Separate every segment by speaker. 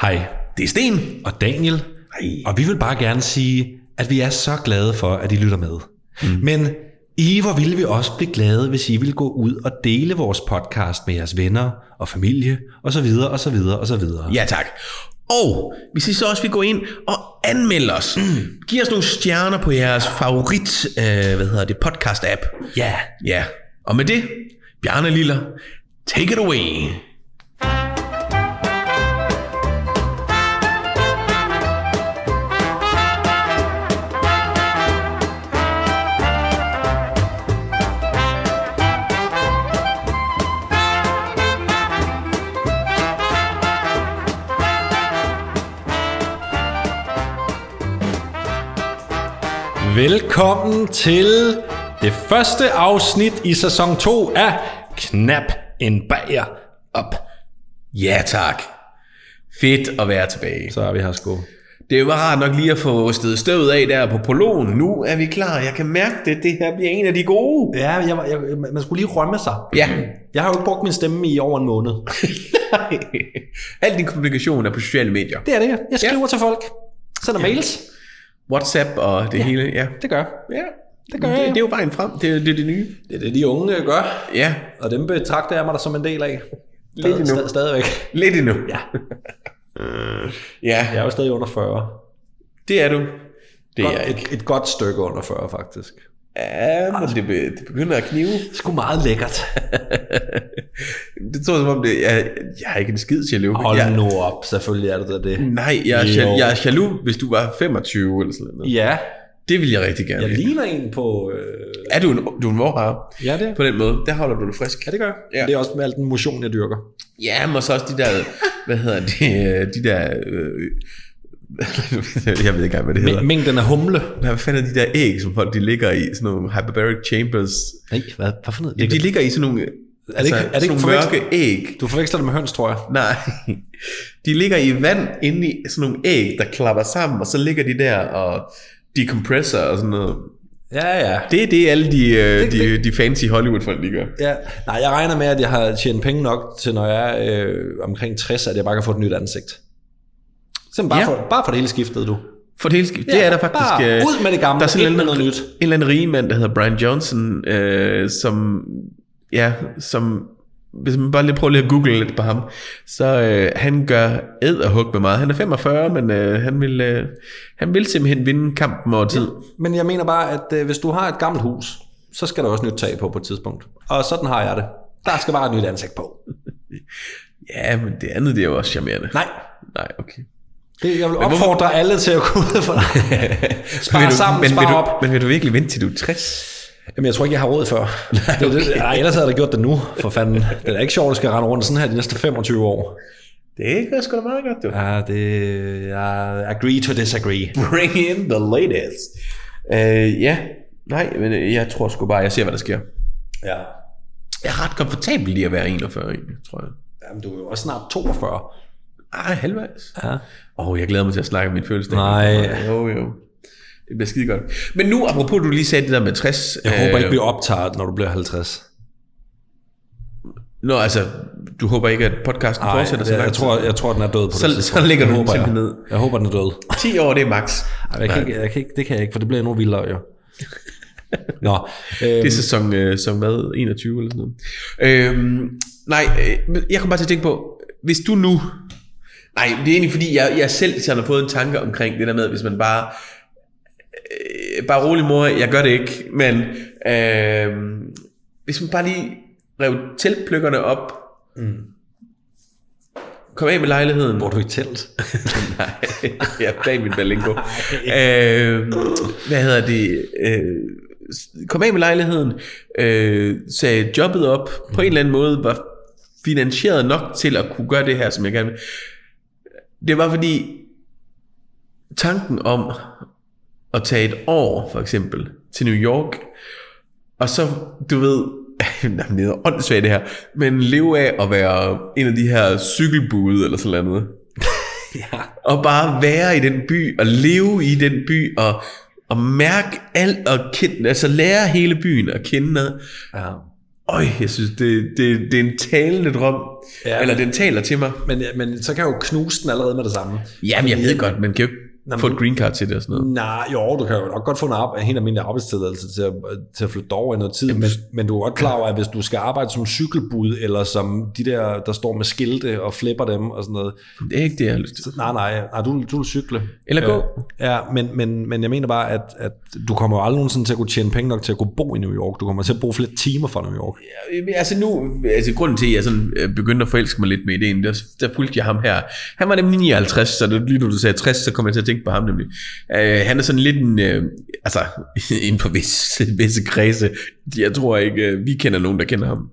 Speaker 1: Hej,
Speaker 2: Det er Sten.
Speaker 1: og Daniel.
Speaker 2: Hej.
Speaker 1: Og vi vil bare gerne sige, at vi er så glade for, at I lytter med. Mm. Men i hvor ville vi også blive glade, hvis I ville gå ud og dele vores podcast med jeres venner og familie og så videre og så videre og så videre.
Speaker 2: Ja, tak. Og hvis I så også vil gå ind og anmelde os, mm. giv os nogle stjerner på jeres favorit, øh, hvad hedder det, podcast-app.
Speaker 1: ja.
Speaker 2: Ja, og med det, Bjarne Liller, take it away.
Speaker 1: Velkommen til det første afsnit i sæson 2 af Knap en bager op.
Speaker 2: Ja, tak. Fedt at være tilbage.
Speaker 1: Så er vi her sko.
Speaker 2: Det var rart nok lige at få stedet støvet af der på prologen. Nu er vi klar. Jeg kan mærke det. Det her bliver en af de gode.
Speaker 1: Ja, jeg, var- jeg, man skulle lige rømme sig.
Speaker 2: Ja.
Speaker 1: Jeg har jo ikke brugt min stemme i over en måned.
Speaker 2: Al din kommunikation er på sociale medier.
Speaker 1: Det er det, jeg, jeg skriver ja. til folk. Sender ja. mails.
Speaker 2: WhatsApp og det ja. hele. Ja.
Speaker 1: Det gør
Speaker 2: ja.
Speaker 1: Det gør
Speaker 2: det,
Speaker 1: jeg.
Speaker 2: det er jo vejen frem. Det, er- det er det nye.
Speaker 1: Det er det, de unge gør.
Speaker 2: Ja.
Speaker 1: Og dem betragter jeg mig da som en del af.
Speaker 2: Lidt endnu.
Speaker 1: Stad, stadigvæk.
Speaker 2: Lidt endnu. Ja. ja.
Speaker 1: Jeg er jo stadig under 40.
Speaker 2: Det er du. Det er jeg ikke.
Speaker 1: Et, et godt stykke under 40, faktisk.
Speaker 2: Ja, men det, be, det begynder at knive.
Speaker 1: Det er sgu meget lækkert.
Speaker 2: Det tror jeg som om, det, jeg, jeg er ikke en skid jaloux.
Speaker 1: Hold ja. Mm.
Speaker 2: jeg,
Speaker 1: nu op, selvfølgelig er det da det.
Speaker 2: Nej, jeg er,
Speaker 1: Jo.
Speaker 2: jal, jeg er jaloux, hvis du var 25 eller sådan noget.
Speaker 1: Ja,
Speaker 2: Det vil jeg rigtig gerne.
Speaker 1: jeg ligner en på... Øh...
Speaker 2: Er du en, du er en vorhar?
Speaker 1: Ja, det
Speaker 2: På den måde, der holder du dig frisk.
Speaker 1: Ja, det gør jeg.
Speaker 2: Ja.
Speaker 1: Ja. Det er også med al den motion, jeg dyrker.
Speaker 2: Ja, men så også de der, hvad hedder det, øh, de der, øh, jeg ved ikke engang, hvad det hedder.
Speaker 1: Mængden af humle.
Speaker 2: Nej, hvad fanden er de der æg, som folk de ligger i, sådan nogle hyperbaric chambers?
Speaker 1: Nej, hvad, hvad for noget?
Speaker 2: De ligger i sådan nogle, altså,
Speaker 1: det ikke- er det ikke
Speaker 2: sådan nogle
Speaker 1: forvekslet-
Speaker 2: mørke æg.
Speaker 1: Du forveksler det med høns, tror jeg.
Speaker 2: Nej, de ligger i vand inde i sådan nogle æg, der klapper sammen, og så ligger de der og decompresser og sådan noget.
Speaker 1: Ja, ja.
Speaker 2: Det er det, alle de, det,
Speaker 1: Det-
Speaker 2: de, de fancy Hollywood-folk, de gør.
Speaker 1: Ja, nej, jeg regner med, at jeg har tjent penge nok til, når jeg er øh, omkring 60, at jeg bare kan få et nyt ansigt. Simpelthen bare,
Speaker 2: Ja.
Speaker 1: ja. for, bare for det hele skiftet, du.
Speaker 2: For det hele skidt. Ja, det er der faktisk...
Speaker 1: Bare
Speaker 2: øh,
Speaker 1: ud med det gamle,
Speaker 2: der er sådan
Speaker 1: ind med
Speaker 2: en-
Speaker 1: noget nyt.
Speaker 2: en eller anden rig mand, der hedder Brian Johnson, øh, som, ja, som, hvis man bare lige prøver lige at google lidt på ham, så øh, han gør æderhug med meget. Han er 45, men øh, han, vil, øh, han vil simpelthen vinde kampen over tid.
Speaker 1: Men jeg mener bare, at øh, hvis du har et gammelt hus, så skal der også nyt tag på på et tidspunkt. Og sådan har jeg det. Der skal bare et nyt ansigt på.
Speaker 2: Ja, men det andet, det er jo også charmerende.
Speaker 1: Nej,
Speaker 2: Nej okay.
Speaker 1: det, jeg vil opfordre alle til at gå ud for dig. Spar
Speaker 2: Vil du,
Speaker 1: sammen,
Speaker 2: men,
Speaker 1: spar
Speaker 2: vil du,
Speaker 1: op.
Speaker 2: Men vil du virkelig vente til du er 60?
Speaker 1: Jamen, jeg tror ikke, jeg har råd før. Nej, okay. det, nej, ellers havde jeg da gjort det nu, for fanden. Det er da ikke sjovt, at jeg skal rende rundt sådan her de næste 25 år.
Speaker 2: Det gør sgu da meget godt, du.
Speaker 1: Ja, det... Jeg agree to disagree.
Speaker 2: Bring in the latest. Øh, ja, nej, men øh, jeg tror sgu bare, jeg ser, hvad der sker.
Speaker 1: Ja.
Speaker 2: Jeg er ret komfortabel i at være 41, egentlig, tror jeg.
Speaker 1: Jamen, du er jo også snart 42.
Speaker 2: Ej, halvvejs.
Speaker 1: Ja.
Speaker 2: Åh, oh, jeg glæder mig til at snakke om min fødselsdag.
Speaker 1: Nej.
Speaker 2: Jo, jo. Det bliver skide godt. Men nu, apropos, du lige sagde det der med øh, 60.
Speaker 1: Jeg håber ikke, vi optager, når du bliver 50.
Speaker 2: Nå, altså, du håber ikke, at podcasten
Speaker 1: Nej,
Speaker 2: fortsætter så
Speaker 1: jeg,
Speaker 2: langt?
Speaker 1: jeg, tror, jeg tror, den er død på
Speaker 2: Så-
Speaker 1: det
Speaker 2: så
Speaker 1: tidspunkt.
Speaker 2: ligger
Speaker 1: Det
Speaker 2: du den
Speaker 1: håber jeg.
Speaker 2: simpelthen ned.
Speaker 1: Jeg håber, den er død.
Speaker 2: 10 år, det er max.
Speaker 1: Ej, Jeg kan ikke, jeg kan ikke, det kan jeg ikke, for det bliver endnu vildere, jo. Nå,
Speaker 2: Det
Speaker 1: øhm,
Speaker 2: er sæson øh, som hvad, 21 eller sådan noget. Øhm, nej, øh, men jeg kom bare til at tænke på, hvis du nu... Nej, det er egentlig fordi, jeg, jeg selv sådan har fået en tanke omkring det der med, hvis man bare... Øh, bare rolig mor, jeg gør det ikke, men... Øh, hvis man bare lige rev teltpløkkerne op, mm. kom af med lejligheden.
Speaker 1: bor du i telt?
Speaker 2: Nej, jeg er bag min balingo. øh, hvad hedder det? Øh, kom af med lejligheden, øh, sagde jobbet op, på en eller anden måde var finansieret nok til at kunne gøre det her, som jeg gerne vil. Det var fordi, tanken om at tage et år, for eksempel, til New York, og så, du ved, nej, men det er åndssvagt det her, men leve af at være en af de her cykelbude eller sådan noget.
Speaker 1: ja.
Speaker 2: Og bare være i den by, og leve i den by, og, og mærke alt, og kende, altså lære hele byen at kende.
Speaker 1: ja.
Speaker 2: Øj, jeg synes, det, det, det er en talende drøm.
Speaker 1: Ja.
Speaker 2: Ja. Eller den taler til mig.
Speaker 1: Men, men så kan jeg jo knuse den allerede med det samme.
Speaker 2: Jamen, jeg ved godt, man kan jo ikke
Speaker 1: Nå, men-
Speaker 2: få et green card til det og sådan noget.
Speaker 1: Nej, jo, du kan jo nok godt få en, arbe- en helt almindelig arbejdstilladelse til at, til at flytte over i noget tid, men, men du er godt klar over, at hvis du skal arbejde som cykelbud, eller som de der, der står med skilte og flipper dem og sådan noget,
Speaker 2: Det er ikke det, jeg har lyst til.
Speaker 1: så, nej, nej, nej du, du vil cykle.
Speaker 2: Eller gå.
Speaker 1: Ja, ja men, men, men jeg mener bare, at, at du kommer jo aldrig nogensinde til at kunne tjene penge nok til at kunne bo i New York. Du kommer til at bruge flere timer fra New York.
Speaker 2: Øh, Altså nu, altså grunden til, at jeg sådan øh, begyndte at forelske mig lidt med ideen, der, der fulgte jeg ham her. Han var nemlig 59, så det, lige nu du sagde 60, så kom jeg til at tænke på ham nemlig. Øh, han er sådan lidt en, øh, altså inden på visse, visse kredse, jeg tror ikke, øh, vi kender nogen, der kender ham.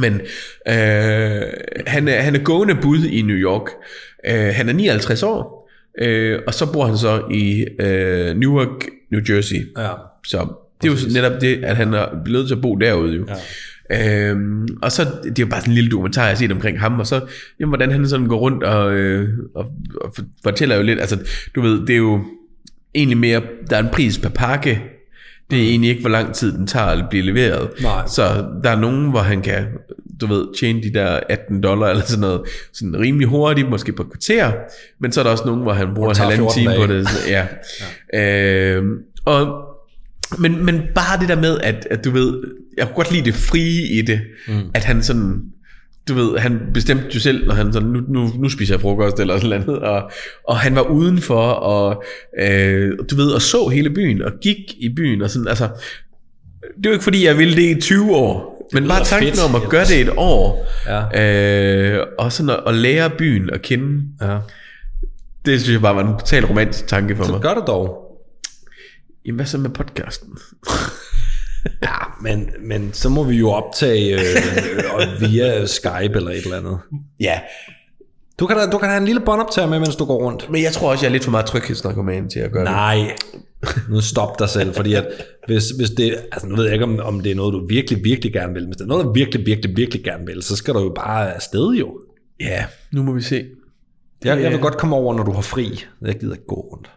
Speaker 2: Men øh, han, er, han er gående bud i New York. Øh, han er 59 år, øh, og så bor han så i øh, Newark, New Jersey.
Speaker 1: Ja.
Speaker 2: Så det er jo netop det, at han er blevet til at bo derude jo.
Speaker 1: Ja.
Speaker 2: Øhm, og så, det er jo bare sådan en lille dokumentar, jeg har set omkring ham, og så, jamen, hvordan han sådan går rundt og, øh, og, og for- fortæller jo lidt, altså, du ved, det er jo egentlig mere, der er en pris per pakke, det er egentlig ikke, hvor lang tid den tager at blive leveret.
Speaker 1: Nej.
Speaker 2: Så der er nogen, hvor han kan, du ved, tjene de der 18 dollar eller sådan noget, sådan rimelig hurtigt, måske på et kvarter, men så er der også nogen, hvor han bruger en
Speaker 1: tager
Speaker 2: halvanden
Speaker 1: 14
Speaker 2: time på
Speaker 1: dage.
Speaker 2: det, det. så- Ja. ja. Øh, og, men, men bare det der med, at, at du ved, jeg kunne godt lide det frie i det, mm. at han sådan, du ved, han bestemte jo selv, når han sådan, nu, nu, nu spiser jeg frokost eller sådan noget, og, og han var udenfor, og øh, du ved, og så hele byen, og gik i byen, og sådan, altså, det er jo ikke fordi, jeg ville det i 20 år, men bare
Speaker 1: lyder
Speaker 2: tanken
Speaker 1: fedt.
Speaker 2: om at gøre det et år,
Speaker 1: Ja.
Speaker 2: øh, og sådan at, at lære byen at kende,
Speaker 1: ja.
Speaker 2: det synes jeg bare var en total romantisk tanke for mig.
Speaker 1: Så gør det dog.
Speaker 2: Jamen, hvad så med podcasten?
Speaker 1: Ja, men, men så må vi jo optage øh, og via Skype eller et eller andet.
Speaker 2: ja,
Speaker 1: Du kan da, du kan have en lille båndoptager med, mens du går rundt.
Speaker 2: men jeg tror også, jeg er lidt for meget tryghedsnarkoman til at gøre det.
Speaker 1: Nej, nu stop dig selv, fordi at hvis, hvis det, altså nu ved jeg ikke, om, om det er noget, du virkelig, virkelig gerne vil, men hvis det er noget, du virkelig, virkelig, virkelig gerne vil, så skal du jo bare afsted jo.
Speaker 2: Ja, nu må vi se.
Speaker 1: Jeg, jeg vil godt komme over, når du har fri. Jeg gider ikke gå rundt.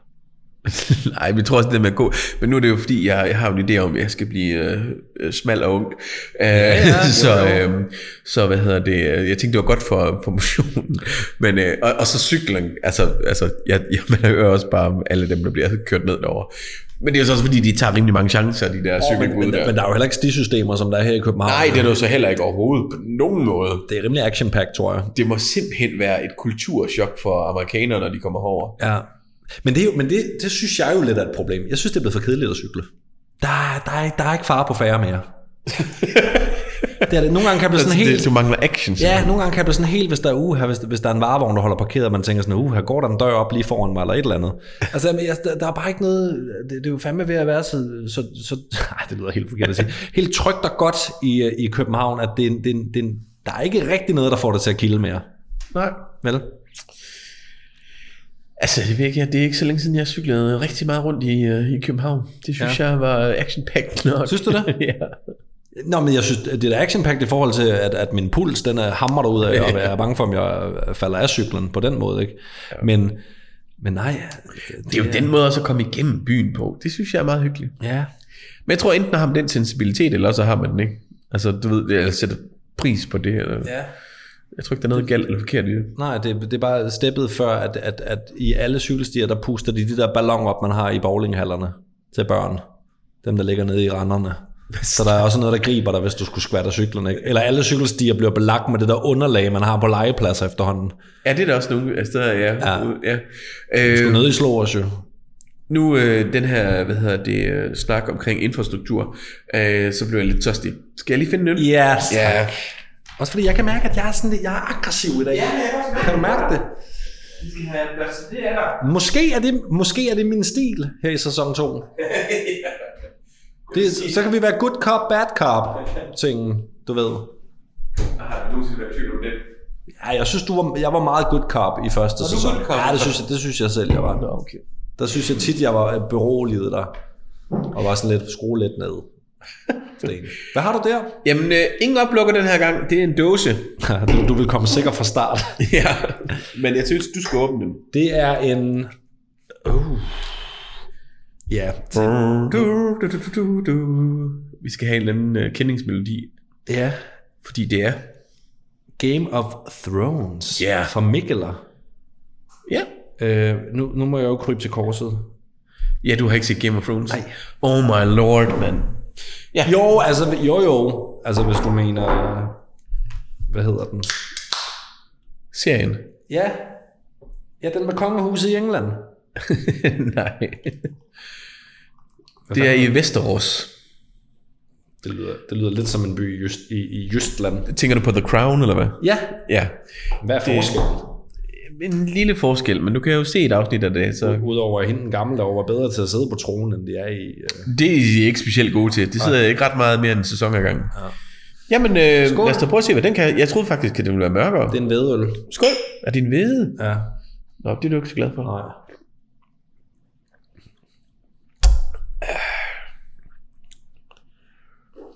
Speaker 2: Nej, vi tror også, det med at gå. Men nu er det jo, fordi jeg, jeg har jo en idé om, at jeg skal blive øh, øh, smal og ung. Øh, ja,
Speaker 1: ja,
Speaker 2: så,
Speaker 1: jo,
Speaker 2: øh, så hvad hedder det? øh, Jeg tænkte, det var godt for, for motionen. Men, øh, og, og så cyklen. Altså, altså jeg, jeg, man hører også bare om alle dem, der bliver kørt ned derovre. Men det er jo så også, fordi de tager rimelig mange chancer, de der
Speaker 1: Men, men,
Speaker 2: cykelbud der.
Speaker 1: men der er jo heller ikke stisystemer, som der er her i København.
Speaker 2: Nej, det er du så heller ikke overhovedet på nogen måde.
Speaker 1: det er rimelig action-packed, tror jeg.
Speaker 2: det må simpelthen være et kulturschok for amerikanere, når de kommer herover.
Speaker 1: Ja. Men, det, er jo, men det, det synes jeg jo lidt er et problem. Jeg synes, det er blevet for kedeligt at cykle. Der, er- der, er, ikke- der er ikke fare på færre mere. det er Altså, det. Nogle gange kan jeg blive sådan helt...
Speaker 2: du mangler action.
Speaker 1: Ja, nogle gange kan jeg blive sådan helt, hvis der er, uha, hvis, hvis der er en varevogn, der holder parkeret, og man tænker sådan, uha, går der en dør op lige foran mig, eller et eller andet. Altså, men jeg, der, der er bare ikke noget, det, det er jo fandme ved at være så, så, så ej, det lyder helt forkert at sige, helt trygt og godt i, øh, i København, at det, er en- det, er en- det, er en- der er ikke rigtig noget, der får det til at kilde mere.
Speaker 2: Nej.
Speaker 1: Vel?
Speaker 2: Altså, det, virker, det er ikke så længe siden, jeg cyklede rigtig meget rundt i, øh, i København. Det synes ja. jeg var action-packed nok.
Speaker 1: Synes du det?
Speaker 2: ja.
Speaker 1: Nå, men jeg synes, det er da action i forhold til, at, at min puls, den er hammer ud af, og jeg er bange for, om jeg falder af cyklen på den måde, ikke? Men, men nej.
Speaker 2: Det er jo den måde også at komme igennem byen på. Det synes jeg er meget hyggeligt.
Speaker 1: Ja.
Speaker 2: Men jeg tror enten har man den sensibilitet, eller så har man den ikke. Altså, du ved, jeg sætter pris på det. Eller, ja. Jeg tror ikke, der er noget galt eller forkert i det.
Speaker 1: Nej, det, det er bare steppet før, at, at, at i alle cykelstier, der puster de de der balloner op, man har i bowlinghallerne til børn. Dem, der ligger nede i renderne. Så der er også noget, der griber dig, hvis du skulle skvatte af cyklen. Ikke? Eller alle cykelstier bliver belagt med det der underlag, man har på legepladser efterhånden.
Speaker 2: Ja, det er der også nogle steder, ja.
Speaker 1: Ja.
Speaker 2: ja. Øh,
Speaker 1: Du er nede i slå os jo.
Speaker 2: Nu øh, den her, hvad hedder det, øh, snak omkring infrastruktur, øh, så blev jeg lidt tørstig. Skal jeg lige finde den?
Speaker 1: Yes.
Speaker 2: Ja.
Speaker 1: Også fordi jeg kan mærke, at jeg er, sådan, lidt- jeg er aggressiv i dag. Ja, kan du mærke det?
Speaker 2: Det er der.
Speaker 1: Måske er, det, måske er det min stil her i sæson 2. Det, så kan vi være good cop, bad cop tingen, du ved.
Speaker 2: Jeg har nogensinde været i tvivl om det.
Speaker 1: Ja, jeg synes, du var, jeg var meget good cop i første
Speaker 2: du
Speaker 1: sæson.
Speaker 2: good cop?
Speaker 1: Ja, det synes, jeg, det synes jeg selv, jeg var.
Speaker 2: Nå, okay.
Speaker 1: Der synes jeg tit, jeg var øh, beroliget der. Og var sådan lidt, skrue lidt ned. Sten. Hvad har du der?
Speaker 2: Jamen, øh, ingen oplukker den her gang. Det er en dåse.
Speaker 1: Du, du vil komme sikker fra start.
Speaker 2: ja, men jeg synes, du skal åbne den.
Speaker 1: Det er en... Uh. Ja,
Speaker 2: Du, du, du, du, du. Vi skal have en eller anden øh, kendingsmelodi.
Speaker 1: Ja.
Speaker 2: Fordi det er.
Speaker 1: Game of Thrones
Speaker 2: Ja.
Speaker 1: fra Mikkeler.
Speaker 2: Ja.
Speaker 1: Øh, nu, nu må jeg jo krybe til korset.
Speaker 2: Ja, du har ikke set Game of Thrones. Nej. Oh my lord, mand. Ja.
Speaker 1: Jo, altså, jo jo. Altså, hvis du mener... øh, Hvad hedder den?
Speaker 2: Serien.
Speaker 1: Ja. Ja, den med kongehuset i England.
Speaker 2: Nej. Det er i Vesterås.
Speaker 1: Det lyder, det lyder lidt som en by i, Jyst, i, i Jystland.
Speaker 2: Tænker du på The Crown, eller hvad?
Speaker 1: Ja.
Speaker 2: Ja.
Speaker 1: Hvad er forskellen?
Speaker 2: En lille forskel, men du kan jo se et afsnit af det, så
Speaker 1: Udover at hende den gamle derovre var bedre til at sidde på tronen, end de er i... Øh.
Speaker 2: det er de ikke specielt gode til. Det sidder ikke ret meget mere end en sæson ad gangen. Ja. Jamen, øh, lad os da prøve at se, hvad den kan. Jeg troede faktisk, at den ville være mørkere.
Speaker 1: Det er en vedøl.
Speaker 2: Skål! Er din hvide?
Speaker 1: Ja.
Speaker 2: Nå, det er du ikke så glad for.
Speaker 1: Nej.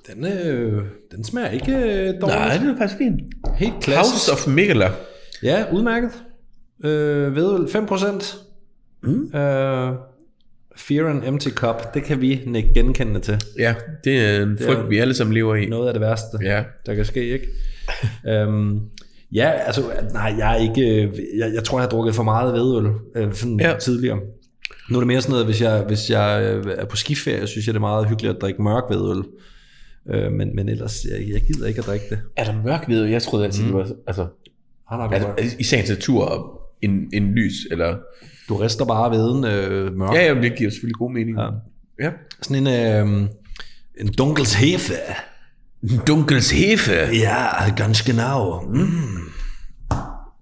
Speaker 1: Den, øh, den smager ikke øh, dårligt.
Speaker 2: Nej, det er faktisk fint.
Speaker 1: Helt klassisk.
Speaker 2: House of Mikkeler.
Speaker 1: Ja, udmærket. Øh, vedøl 5%. Mm. Øh, Fear and Empty Cup, det kan vi nikke genkendende til.
Speaker 2: Ja, det er en frygt, vi alle sammen lever i.
Speaker 1: Noget af det værste,
Speaker 2: Ja.
Speaker 1: der kan ske, ikke? øhm, ja, altså, nej, jeg er ikke... øh, Jeg, jeg tror, jeg har drukket for meget vedøl øh, sådan
Speaker 2: Ja.
Speaker 1: ja. tidligere. Nu er det mere sådan noget, hvis jeg, hvis jeg øh, er på skiferie, synes jeg, det er meget hyggeligt at drikke mørk vedøl. Øh, men, men ellers, jeg, jeg gider ikke at drikke det.
Speaker 2: Er der mørk hvide? Jeg troede altid, mm. det var... Altså,
Speaker 1: Ah, nej,
Speaker 2: er
Speaker 1: du,
Speaker 2: der, i sagens natur en, en lys, eller...
Speaker 1: du rister bare veden øh, mørk.
Speaker 2: Ja, jamen, det giver selvfølgelig god mening. Ja. ja.
Speaker 1: Sådan en, øh, en dunkels hefe.
Speaker 2: Dunkels hefe.
Speaker 1: Ja, ganske genau. Mm.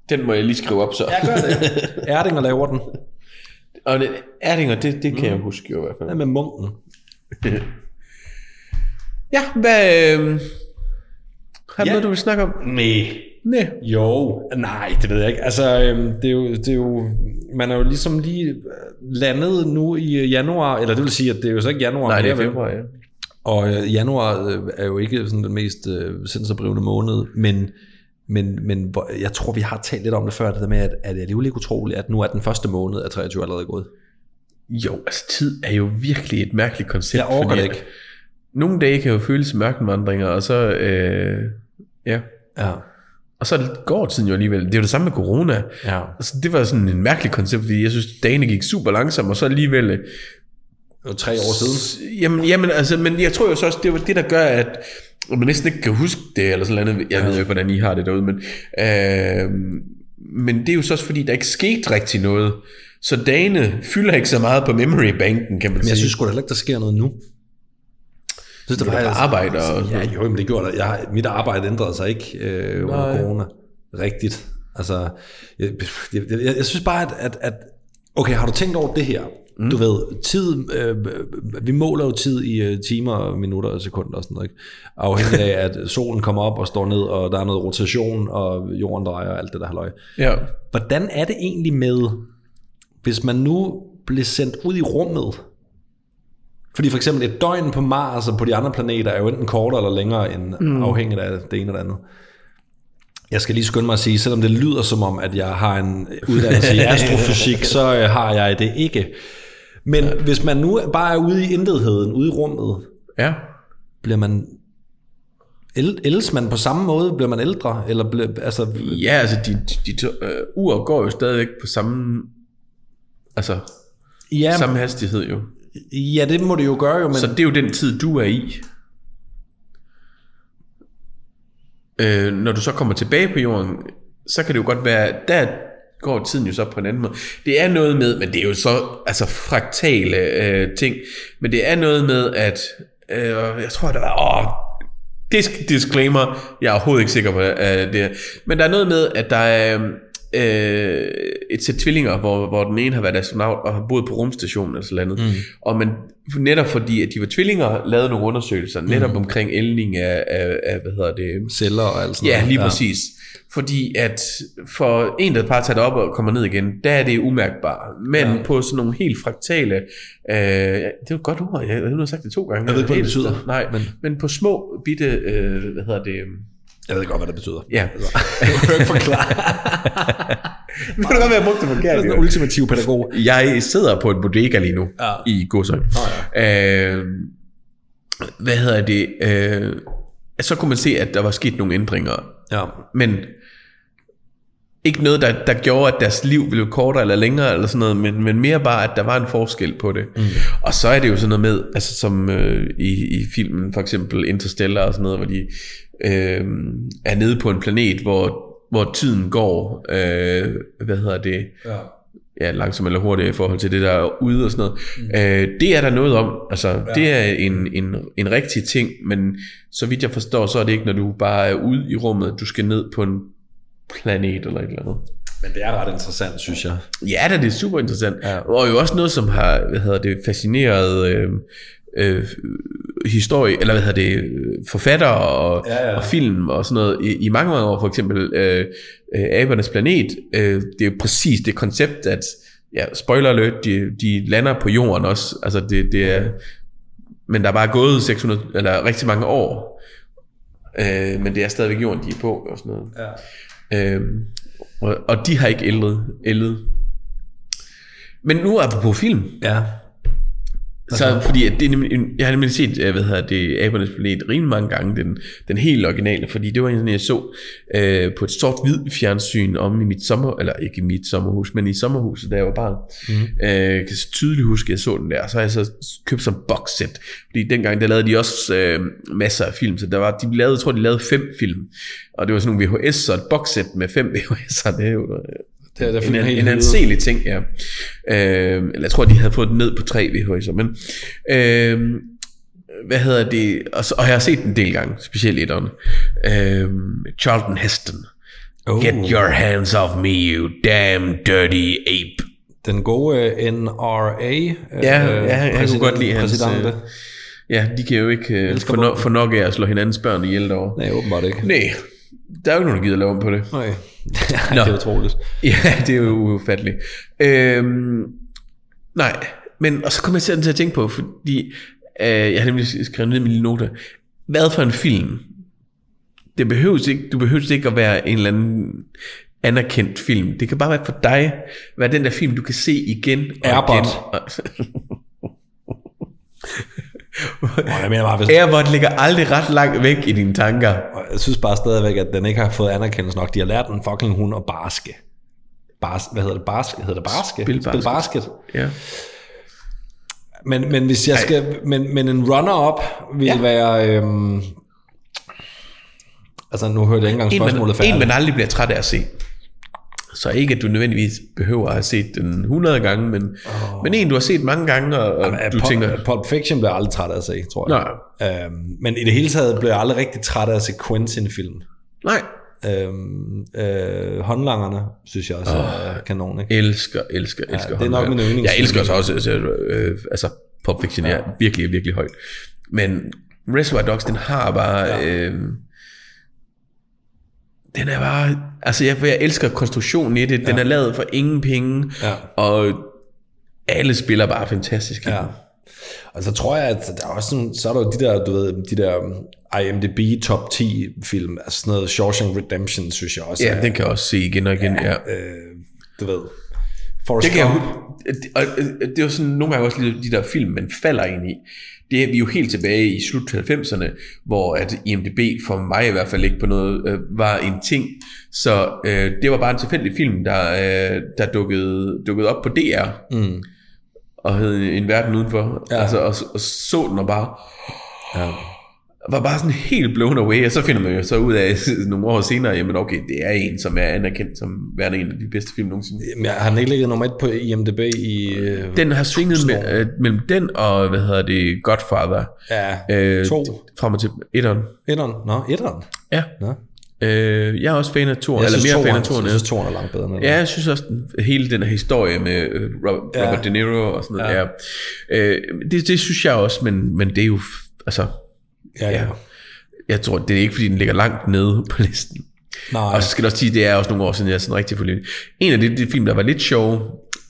Speaker 2: Den må jeg lige skrive op, så. Ja,
Speaker 1: Gør det. Erdinger laver den.
Speaker 2: Og det, Erdinger, det, det kan mm. jeg huske jo i hvert
Speaker 1: Den
Speaker 2: fald.
Speaker 1: er med munken.
Speaker 2: Ja, hvad... Øh, har du
Speaker 1: Ja.
Speaker 2: noget, du vil snakke om?
Speaker 1: Nej.
Speaker 2: Nej.
Speaker 1: Jo, nej, det ved jeg ikke. Altså, øhm, det, er jo, det er jo, man er jo ligesom lige øh, landet nu i øh, januar, eller det vil sige, at det er jo så ikke januar.
Speaker 2: Nej, det er
Speaker 1: mere, vel?
Speaker 2: februar, ja.
Speaker 1: Og øh, januar øh, er jo ikke sådan den mest øh, sindsoprivende måned, men, men, men hvor, jeg tror, vi har talt lidt om det før, det der med, at, at det er alligevel ikke utroligt, at nu er den første måned af 23 allerede gået.
Speaker 2: Jo, altså tid er jo virkelig et mærkeligt koncept.
Speaker 1: Jeg overgår
Speaker 2: fordi
Speaker 1: det
Speaker 2: at
Speaker 1: ikke.
Speaker 2: Nogle dage kan jo føles som ørkenvandringer, og så... Øh, ja.
Speaker 1: Ja.
Speaker 2: Og så går tiden jo alligevel. Det er jo det samme med corona.
Speaker 1: Ja.
Speaker 2: Altså, det var sådan en mærkelig koncept, fordi jeg synes, dagene gik super langsomt, og så alligevel... øh,
Speaker 1: Det var tre år siden.
Speaker 2: Jamen, jamen, altså, men jeg tror jo så også, det var det, der gør, at man næsten ikke kan huske det, eller sådan noget. Jeg ved jo ikke, hvordan I har det derude, men, øh, men det er jo så også, fordi der ikke skete rigtig noget. Så dagene fylder ikke så meget på memory-banken, kan man
Speaker 1: Men
Speaker 2: sige.
Speaker 1: jeg synes sgu da heller ikke, der sker noget nu. Jeg synes, det
Speaker 2: du er på arbejde og...
Speaker 1: altså, Ja, jo, men det gjorde der. Jeg, har- mit arbejde ændrede sig ikke øh, under
Speaker 2: Nej.
Speaker 1: corona. Rigtigt. Altså, jeg, jeg, jeg, jeg synes bare, at, at, at... Okay, har du tænkt over det her? Mm. Du ved, tid... Øh, vi måler jo tid i øh, timer, minutter og sekunder og sådan noget, ikke? Afhængig af, at solen kommer op og står ned, og der er noget rotation, og jorden drejer og alt det der halløj.
Speaker 2: Ja.
Speaker 1: Hvordan er det egentlig med, hvis man nu blev sendt ud i rummet? Fordi for eksempel et døgn på Mars og på de andre planeter er jo enten kortere eller længere end mm. afhængigt af det ene eller andet. Jeg skal lige skynde mig at sige, selvom det lyder som om, at jeg har en uddannelse i astrofysik, så øh, har jeg det ikke. Men ja. hvis man nu bare er ude i intetheden, ude i rummet,
Speaker 2: Ja.
Speaker 1: bliver man... el- Ældes man på samme måde? Bliver man ældre? Eller bliver, altså,
Speaker 2: Ja, altså, de, de, de øh, uger går jo stadigvæk på samme... Altså,
Speaker 1: ja,
Speaker 2: samme hastighed jo.
Speaker 1: ja, det må det jo gøre jo, men...
Speaker 2: Så det er jo den tid, du er i. Øh, når du så kommer tilbage på jorden, så kan det jo godt være, der går tiden jo så på en anden måde. Det er noget med, men det er jo så altså fraktale øh, ting, men det er noget med, at øh, jeg tror, der var, åh, disk, disclaimer, jeg er overhovedet ikke sikker på øh, det her. Men der er noget med, at der er øhm, øh, et sæt tvillinger, hvor, hvor den ene har været astronaut og har boet på rumstationen eller sådan noget. Mm. Og man, netop fordi, at de var tvillinger, lavede nogle undersøgelser netop mm. omkring ældning af, af, af, hvad hedder det,
Speaker 1: celler og alt sådan
Speaker 2: Ja,
Speaker 1: noget.
Speaker 2: lige ja. præcis. Fordi at for en, der bare tager det op og kommer ned igen, der er det umærkbart. Men ja. på sådan nogle helt fraktale... Øh, det er jo et godt ord, jeg, jeg har sagt det to gange. Jeg
Speaker 1: ved ikke, hvad det betyder,
Speaker 2: Nej, men,
Speaker 1: men-
Speaker 2: men på små bitte... Øh, hvad hedder det?
Speaker 1: Jeg ved godt, hvad det betyder.
Speaker 2: Ja.
Speaker 1: Jeg kan ikke forklare.
Speaker 2: Nu kan det godt være, jeg brugte det
Speaker 1: Jeg er
Speaker 2: forkert.
Speaker 1: sådan en
Speaker 2: jo.
Speaker 1: ultimativ pædagog.
Speaker 2: Jeg sidder på en bodega lige nu ja.
Speaker 1: Ja.
Speaker 2: i Godsøj. Oh, ja. øh, hvad hedder det? Øh, så kunne man se, at der var sket nogle ændringer.
Speaker 1: Ja.
Speaker 2: Men ikke noget, der, der gjorde, at deres liv blev kortere eller længere, eller sådan noget, men, men mere bare, at der var en forskel på det. Mm. Og så er det jo sådan noget med, altså som øh, i, i filmen, for eksempel Interstellar og sådan noget, hvor de øh, er nede på en planet, hvor, hvor tiden går, øh, hvad hedder det,
Speaker 1: ja.
Speaker 2: ja, langsomt eller hurtigt i forhold til det, der er ude og sådan noget. Mm. Øh, det er der noget om. Altså, ja. det er en, en, en rigtig ting, men så vidt jeg forstår, så er det ikke, når du bare er ude i rummet, du skal ned på en planet eller et eller andet.
Speaker 1: Men det er ret interessant, synes jeg.
Speaker 2: Ja, da, det er super interessant. Ja. Og jo også noget, som har hvad hedder det, fascineret øh, øh, historie, eller hvad hedder det, øh, forfattere og,
Speaker 1: Ja, ja.
Speaker 2: og film og sådan noget i, i mange, mange år. For eksempel øh, øh, Abernes Planet, øh, det er jo præcis det koncept, at ja, spoiler alert, de, de lander på jorden også. Altså det, det er, men der er bare gået 600, eller rigtig mange år. Øh, men det er stadigvæk jorden, de er på og sådan noget.
Speaker 1: Ja.
Speaker 2: Øhm, og, og de har ikke ældet. ældet. Men nu apropos film,
Speaker 1: ja.
Speaker 2: så, fordi at det er nemlig, en- jeg har nemlig set, øh, hvad hedder det, Abernes Planet rimelig mange gange, den, den helt originale, fordi det var en, jeg så øh, på et sort-hvid fjernsyn om i mit sommer, eller ikke i mit sommerhus, men i sommerhuset, da jeg var barn. Mm. Øh, kan så tydeligt huske, at jeg så den der, og så har jeg så købt som boxset, fordi dengang, der lavede de også øh, masser af film, så der var, de lavede, jeg tror, de lavede fem film, og det var sådan nogle VHS, så et boxset med fem VHS'er, det er jo øh,
Speaker 1: Det er da
Speaker 2: en,
Speaker 1: fyldt
Speaker 2: en,
Speaker 1: helt
Speaker 2: en
Speaker 1: helvede.
Speaker 2: anselig ting, ja. Øh, eller jeg tror, de havde fået den ned på 3 VHS'er, men... Øh, hvad hedder det? Og, så, og jeg har set den en del gange, specielt i etteren. Øh, Charlton Heston.
Speaker 1: Oh.
Speaker 2: Oh. Get your hands off me, you damn dirty ape.
Speaker 1: Den gode øh, NRA.
Speaker 2: Ja, ja, jeg kunne
Speaker 1: øh, præsident-
Speaker 2: godt lide hans,
Speaker 1: præsidente.
Speaker 2: øh, Ja, de kan jo ikke øh, få, no, få nok af at slå hinandens børn ihjel derovre.
Speaker 1: Nej, åbenbart ikke.
Speaker 2: Nej, der er jo ikke nogen, der gider lave om på det.
Speaker 1: Nej. Ej, det er utroligt.
Speaker 2: Ja, det er jo ufatteligt. Øhm, nej, men og så kom jeg selv til at tænke på, fordi øh, jeg har nemlig skrevet ned i mine noter, hvad for en film? Det behøves ikke, du behøves ikke at være en eller anden anerkendt film. Det kan bare være for dig, være den der film, du kan se igen og
Speaker 1: Airbot.
Speaker 2: igen.
Speaker 1: Nå, jeg mener bare, hvis...
Speaker 2: Airbot ligger aldrig ret langt væk i dine tanker.
Speaker 1: Og Jeg synes bare stadigvæk, at den ikke har fået anerkendelse nok. De har lært den fucking hund at barske. Bars, hvad hedder det? Barske? Hedder det barske?
Speaker 2: Spil basket.
Speaker 1: basket.
Speaker 2: Ja.
Speaker 1: Men, men hvis jeg skal... Men, men en runner-up vil ja. være... Øhm, altså, nu hørte jeg ikke engang
Speaker 2: En man,
Speaker 1: spørgsmålet
Speaker 2: en,
Speaker 1: færdigt.
Speaker 2: man aldrig bliver træt af at se. Så ikke, at du nødvendigvis behøver at have set den 100 gange, men, oh. men en, du har set mange gange, og, og
Speaker 1: Ja,
Speaker 2: du
Speaker 1: Øhm, Pulp,
Speaker 2: tænker...
Speaker 1: Pulp Fiction bliver jeg aldrig træt af at se, tror jeg.
Speaker 2: Nej,
Speaker 1: Øhm, men i det hele taget blev jeg aldrig rigtig træt af at se Quentin-film.
Speaker 2: nej.
Speaker 1: Øhm, øh, håndlangerne, synes jeg også oh. er kanon, ikke?
Speaker 2: Elsker, elsker, elsker.
Speaker 1: det er nok
Speaker 2: håndværk.
Speaker 1: min yndlings-
Speaker 2: Jeg elsker så også, altså, øh, altså Pulp Fiction ja. er virkelig, virkelig højt. Men Reservoir Dogs, den har bare... Ja. Øh, den er bare... Altså, jeg, jeg elsker konstruktionen i det. Den ja. er lavet for ingen penge,
Speaker 1: Ja.
Speaker 2: og alle spiller bare fantastisk. i
Speaker 1: Ja.
Speaker 2: den.
Speaker 1: Og så tror jeg, at der er også sådan, så er der jo de der, du ved, de der øhm, IMDb top 10 film, altså sådan noget Shawshank Redemption, synes jeg også.
Speaker 2: Ja,
Speaker 1: er,
Speaker 2: den kan jeg også se igen og igen. Ja.
Speaker 1: øh, du ved, Forrest
Speaker 2: Det kan jeg,
Speaker 1: Gump.
Speaker 2: det, og, øh, det er jo sådan nogle gange også lidt de der film, man falder ind i. Det er vi jo helt tilbage i slut 90'erne, hvor at IMDB for mig i hvert fald ikke på noget øh, var en ting. Så øh, det var bare en tilfældig film, der, øh, der dukkede, dukkede op på DR
Speaker 1: Mm.
Speaker 2: og hed En Verden Udenfor.
Speaker 1: Ja.
Speaker 2: Ja. Altså, og, og så den og bare
Speaker 1: Ja.
Speaker 2: var bare sådan helt blown away, og så finder man jo så ud af nogle år senere, jamen okay, det er en, som er anerkendt som værende en af de bedste film nogensinde.
Speaker 1: Jamen, jeg har den ikke ligget nummer et på IMDb i... Øh,
Speaker 2: Den har svinget med, øh, mellem den og, hvad hedder det, Godfather.
Speaker 1: ja,
Speaker 2: Øh,
Speaker 1: to.
Speaker 2: t- Frem og til etteren.
Speaker 1: Etteren. Nå, etteren.
Speaker 2: Ja.
Speaker 1: Nå.
Speaker 2: Øh, jeg er også fan af toeren, eller mere fan af toeren.
Speaker 1: Jeg
Speaker 2: end-
Speaker 1: synes, toren er langt bedre end
Speaker 2: Ja, jeg synes også, den, hele den her historie med øh, Robert,
Speaker 1: Ja.
Speaker 2: ja. Robert De Niro og sådan noget ja. der. Øh, det, det synes jeg også, men, men det er jo, f- altså,
Speaker 1: ja, ja.
Speaker 2: ja. jeg tror, det er ikke, fordi den ligger langt nede på listen.
Speaker 1: Nej,
Speaker 2: Og så skal jeg også sige, det er også nogle år siden, jeg er sådan rigtig forløbet. En af de, de film, der var lidt sjove,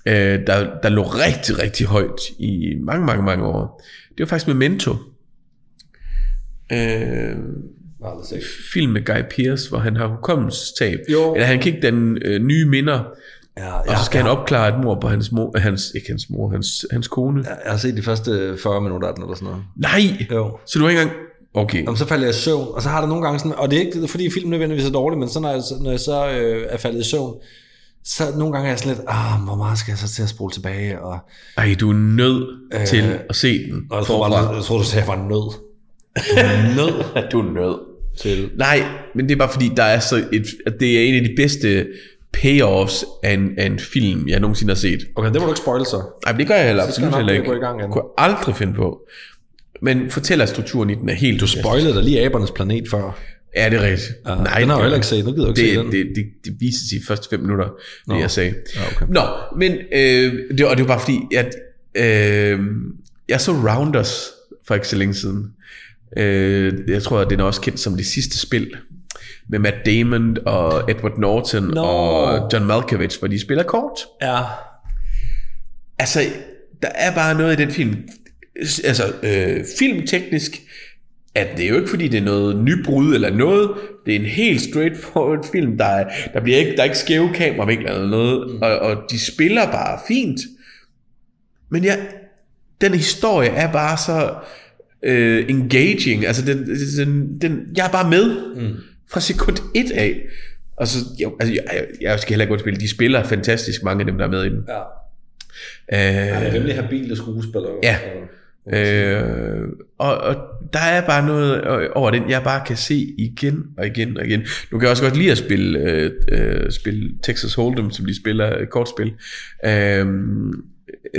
Speaker 2: øh, der, der lå rigtig, rigtig højt i mange, mange, mange år, det var faktisk Memento. Øh,
Speaker 1: jeg har aldrig set.
Speaker 2: film med Guy Pearce, hvor han har hukommelsestab.
Speaker 1: Jo.
Speaker 2: Eller han kan ikke den øh, nye minder,
Speaker 1: Ja,
Speaker 2: og
Speaker 1: jeg,
Speaker 2: så skal han opklare et mor på hans mor, hans, ikke hans mor, hans, hans kone. Ja.
Speaker 1: jeg, jeg har set de første 40 minutter af den eller sådan noget.
Speaker 2: Nej!
Speaker 1: Jo.
Speaker 2: Så du har ikke engang... Okay.
Speaker 1: Jamen, så falder jeg i søvn, og så har der nogle gange sådan, og det er ikke fordi filmen nødvendigvis er dårlig, men så når jeg, når jeg så øh, er faldet i søvn, så nogle gange er jeg sådan lidt, ah, hvor meget skal jeg så til at spole tilbage? Og,
Speaker 2: Ej, du er nødt øh, til at se den.
Speaker 1: og jeg, tror
Speaker 2: forfra.
Speaker 1: bare, jeg tror, du sagde, at jeg var nød. nød
Speaker 2: Du er nødt.
Speaker 1: til.
Speaker 2: Nej, men det er bare fordi, der er så et, at det er en af de bedste payoffs af en, af en film, jeg nogensinde har set.
Speaker 1: Okay, det må du ikke spoil så.
Speaker 2: Nej, men det gør jeg heller
Speaker 1: Så skal jeg
Speaker 2: absolut
Speaker 1: nok
Speaker 2: heller
Speaker 1: lige gå i
Speaker 2: ikke.
Speaker 1: gang igen.
Speaker 2: kunne jeg aldrig finde på. Men fortæl at strukturen i den er helt... Du
Speaker 1: Spoilede der lige abernes planet før.
Speaker 2: Ja, det er rigtigt. Uh,
Speaker 1: Ah, den har jeg heller ikke set. Nu gider jeg ikke
Speaker 2: det,
Speaker 1: se den.
Speaker 2: Det, det, det viser sig i de første fem minutter, Nå. det jeg sagde.
Speaker 1: Ja, okay.
Speaker 2: Nå, men øh, det, og det var bare fordi, at øh, jeg så Rounders for ikke så længe siden. Øh, jeg tror, at den er også kendt som det sidste spil med Matt Damon og Edward Norton
Speaker 1: Nå.
Speaker 2: og John Malkovich, hvor de spiller kort.
Speaker 1: Ja.
Speaker 2: Altså, der er bare noget i den film. Altså, øh, filmteknisk, at det er jo ikke fordi, det er noget nybrud eller noget. Det er en helt straightforward film. Der, er, der, bliver ikke, der er ikke skæve kameravinkler eller noget. Mm. Og, og de spiller bare fint. Men ja, den historie er bare så øh, engaging. Altså, den, den, den, jeg er bare med mm. fra sekund et af. Og så, jeg, altså, jeg, jeg, jeg skal heller ikke underspille. De spiller fantastisk, mange af dem, der er med i den.
Speaker 1: ja.
Speaker 2: Øh,
Speaker 1: Han er rimelig habile skuespiller.
Speaker 2: Ja.
Speaker 1: Og-
Speaker 2: Øh, og, og der er bare noget øh, over den, jeg bare kan se igen og igen og igen. Nu kan jeg også godt lide at spille, øh, øh, spille Texas Hold'em, som de spiller øh, kortspil. Øh,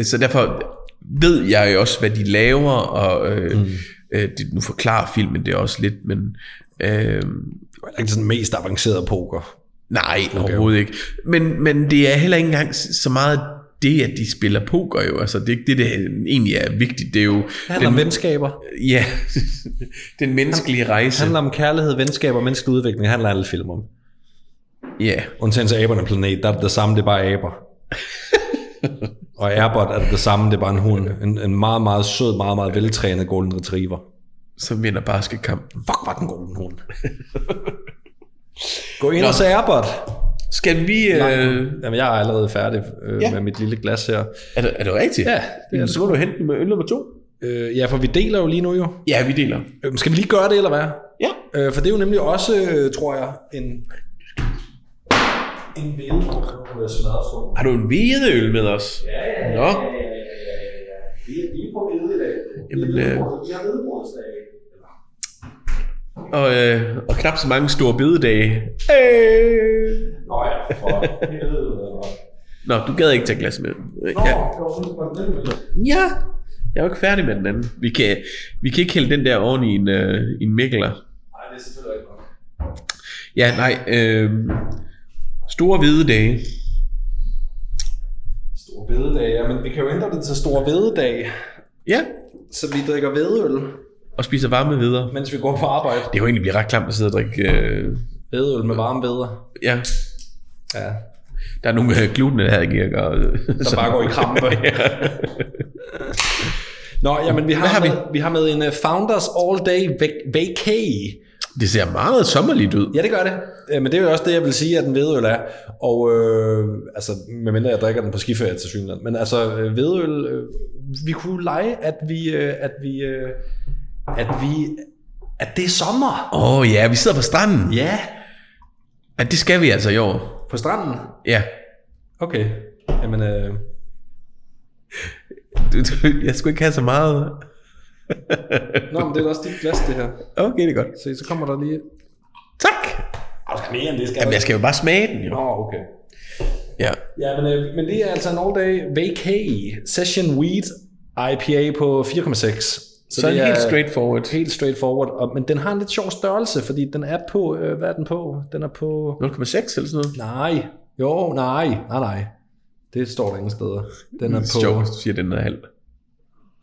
Speaker 2: så derfor ved jeg jo også, hvad de laver, og øh, mm. øh, det, nu forklarer filmen det også lidt, men... Øh,
Speaker 1: Det var ikke sådan mest avanceret poker.
Speaker 2: Nej, okay. overhovedet ikke. Men, men det er heller ikke engang s- så meget det, at de spiller poker jo. Altså, det er ikke det, der egentlig er vigtigt. Det er jo
Speaker 1: Det handler
Speaker 2: den,
Speaker 1: om venskaber.
Speaker 2: ja, den menneskelige
Speaker 1: Det
Speaker 2: rejse.
Speaker 1: handler om kærlighed, venskaber og menneskelig udvikling. Det handler alle film om.
Speaker 2: Ja,
Speaker 1: Undtagen til aberne planet, der er det det samme, det er bare aber. og Airbot er det det samme, det er bare en hund. En, en meget, meget sød, meget, meget veltrænet golden retriever.
Speaker 2: som vinder basketkampen.
Speaker 1: Fuck, var den golden hund. Gå ind og se Airbot.
Speaker 2: Skal vi... Øh,
Speaker 1: Jamen, jeg er allerede færdig øh,
Speaker 2: Ja.
Speaker 1: ja. med mit lille glas her.
Speaker 2: er, det, er det rigtigt?
Speaker 1: Ja, det er det.
Speaker 2: Så må du hente den med øl nummer to.
Speaker 1: Øh, ja, for vi deler jo lige nu jo.
Speaker 2: Ja, vi deler.
Speaker 1: Øh, skal vi lige gøre det, eller hvad?
Speaker 2: Ja.
Speaker 1: Øh, for det er jo nemlig også, øh, tror jeg, en... En billede, der bliver smadret på.
Speaker 2: Har du en hvide øl med os? Ja, ja, Nå.
Speaker 1: Vi er lige på billede i dag.
Speaker 2: Jamen, øh,
Speaker 1: Vi har vedbrugsdag.
Speaker 2: og, øh, og knap så mange store bededage. Øh.
Speaker 1: Nå ja, for helvede.
Speaker 2: Nå, du gad ikke tage glas med. Ja. Ja, jeg er jo ikke færdig med den anden. Vi kan, vi kan ikke hælde den der oven i en, øh, en mikler.
Speaker 1: Nej, det er selvfølgelig ikke nok.
Speaker 2: Ja, nej. Øh, store hvide dage.
Speaker 1: Store bededag, ja, men vi kan jo ændre det til store vededag,
Speaker 2: Ja,
Speaker 1: så vi drikker vedøl,
Speaker 2: og spiser varme videre.
Speaker 1: mens vi går på arbejde.
Speaker 2: Det kan jo egentlig blive ret klamt at sidde og drikke. Øh,
Speaker 1: Vedøl med varme veder.
Speaker 2: ja,
Speaker 1: Ja,
Speaker 2: der er nogle øh, gluten, der ikke og,
Speaker 1: der bare går i krampe. Nå, jamen vi har,
Speaker 2: Hvad har vi?
Speaker 1: Med, vi har med en øh, Founders All Day vac- Vacay.
Speaker 2: Det ser meget sommerligt ud.
Speaker 1: Ja, det gør det. Øh, Men det er jo også det, jeg vil sige, at en hvedøl er. Og øh, altså, medmindre jeg drikker den på skiferie til synligheden. Men altså, øh, hvedøl, øh, vi kunne lege, at vi, øh, at vi, øh, at vi, at det er sommer.
Speaker 2: Åh oh, ja, vi sidder på stranden.
Speaker 1: Ja,
Speaker 2: Ja, det skal vi altså i år.
Speaker 1: på stranden.
Speaker 2: Ja.
Speaker 1: Okay, jamen, øh,
Speaker 2: Du, du, jeg skulle ikke have så meget.
Speaker 1: nå, men det er da også dit glas, det her.
Speaker 2: Okay, det er godt.
Speaker 1: Se, så kommer der lige...
Speaker 2: Tak.
Speaker 1: Ah, du skal mere end det, skal
Speaker 2: Jamen, jeg skal jo bare smage den jo.
Speaker 1: Nå, okay.
Speaker 2: Ja.
Speaker 1: Ja, men, øh, men det er altså en all-day vacay session weed IPA på 4,6.
Speaker 2: Så, så
Speaker 1: det
Speaker 2: er helt straightforward.
Speaker 1: Helt straightforward, og, men den har en lidt sjov størrelse, fordi den er på, øh, hvad er den på? Den er på,
Speaker 2: 0,6 eller sådan noget.
Speaker 1: nej, jo, nej, nej, nej. Det står der ingen steder. Den er
Speaker 2: Det er sjovt,
Speaker 1: på,
Speaker 2: hvis du siger, den er halv.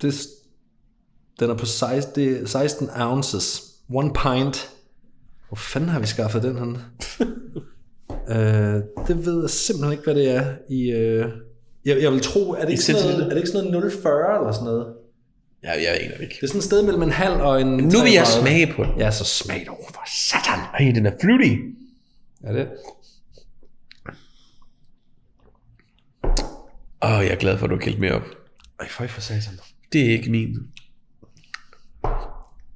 Speaker 1: det, den er på 16, det er 16 ounces, one pint. Hvor fanden har vi skaffet den her? øh, det ved jeg simpelthen ikke, hvad det er i... Øh, jeg, jeg vil tro, er det, ikke sådan noget,
Speaker 2: centiliter?
Speaker 1: er det ikke sådan noget 0,40 eller sådan noget?
Speaker 2: Ja, jeg aner det ikke.
Speaker 1: Det er sådan et sted mellem en halv og en...
Speaker 2: Nu vil jeg
Speaker 1: 33.
Speaker 2: smage på den.
Speaker 1: Ja, så smag dog for satan.
Speaker 2: Ej, den er flyttig.
Speaker 1: Er det?
Speaker 2: Åh, oh, jeg er glad for, at du har kældt mere op.
Speaker 1: Ej, føj for satan.
Speaker 2: Det er ikke min.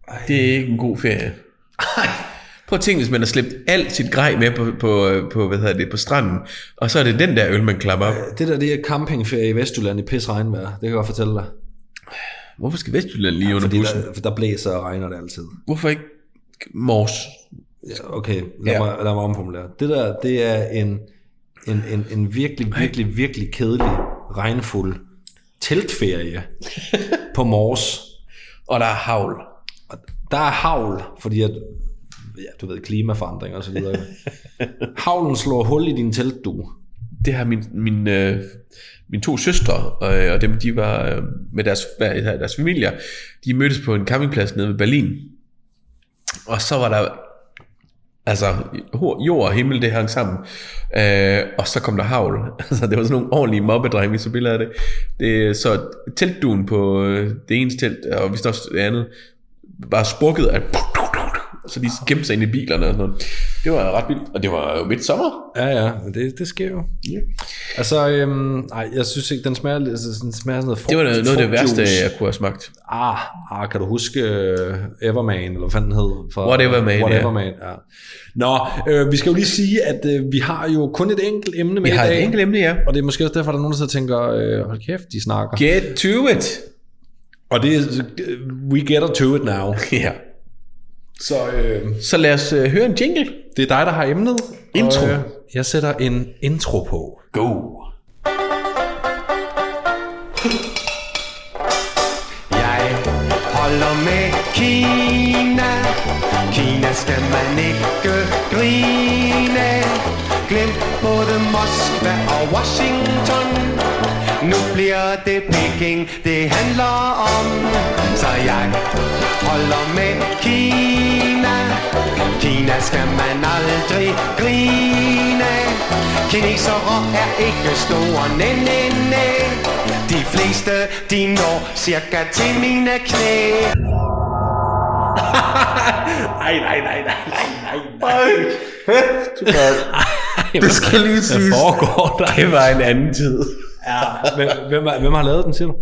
Speaker 1: Ej,
Speaker 2: Det er ikke en god ferie. Prøv at tænke, hvis man har slæbt alt sit grej med på, på, på, hvad hedder det, på stranden, og så er det den der øl, man klapper op.
Speaker 1: Det der, det er campingferie i Vestjylland i pis regnvejr. Det kan jeg godt fortælle dig.
Speaker 2: Hvorfor skal Vestjylland lige under
Speaker 1: Fordi
Speaker 2: bussen?
Speaker 1: der, for der blæser og regner det altid.
Speaker 2: Hvorfor ikke Mors?
Speaker 1: Ja, okay, lad,
Speaker 2: Ja.
Speaker 1: ja. mig, lad mig omformulere. Det der, det er en, en, en, en virkelig, virkelig, virkelig kedelig, regnfuld teltferie på Mors.
Speaker 2: Og der er havl.
Speaker 1: Og der er havl, fordi at, ja, du ved, klimaforandring og så videre. Havlen slår hul i din teltdue.
Speaker 2: Det har min, min, øh, mine to søstre, øh, og dem de var øh, med deres, hver- deres familier, de mødtes på en campingplads nede ved Berlin. Og så var der altså ho- jord og himmel, det hang sammen. Øh, og så kom der havl. Altså, det var sådan nogle ordentlige mobbedrenge, vi så billeder af det. det så teltduen på øh, det ene telt, og vist også det andet, var sprukket af... Så de gemte sig ind i bilerne og sådan noget. Det var ret vildt, og det var jo midt sommer.
Speaker 1: Ja, ja, men det, det sker jo.
Speaker 2: Ja.
Speaker 1: Og så, øhm, ej, jeg synes ikke, den smager, lidt- altså, den smager sådan noget frugt,
Speaker 2: Det var noget, noget af det værste,
Speaker 1: frugtjuice.
Speaker 2: jeg kunne have smagt.
Speaker 1: Ah, ah, kan du huske uh, Everman, eller hvad fanden den hed? Fra,
Speaker 2: Whatever Man,
Speaker 1: Whatever Man,
Speaker 2: ja.
Speaker 1: ja. Nå, øh, vi skal jo lige sige, at øh, vi har jo kun et enkelt emne med
Speaker 2: Vi
Speaker 1: i
Speaker 2: har
Speaker 1: dag.
Speaker 2: et enkelt emne, ja.
Speaker 1: Og det er måske også derfor, der er nogen, der sidder og tænker, øh, hold kæft, de snakker.
Speaker 2: Get to it!
Speaker 1: og det er, øh, we get to it now.
Speaker 2: Ja.
Speaker 1: Så øh,
Speaker 2: Så lad os øh, høre en jingle.
Speaker 1: det er dig, der har emnet.
Speaker 2: Intro.
Speaker 1: Og, øh, jeg sætter en intro på.
Speaker 2: Go!
Speaker 3: Jeg holder med Kina Kina skal man ikke grine Glem både Moskva og Washington Nu bliver det Peking, det handler om Så jeg holder med Kina Kina skal man aldrig grine Kinesere er ikke store, nej, nej, nej De fleste, de når cirka til mine knæ
Speaker 2: Nej, nej, nej, nej, nej, nej. Det skal lige
Speaker 1: Hvad
Speaker 2: siges.
Speaker 1: foregår der?
Speaker 2: Det var en anden tid.
Speaker 1: Hvem, hvem, er- hvem har lavet den, siger du?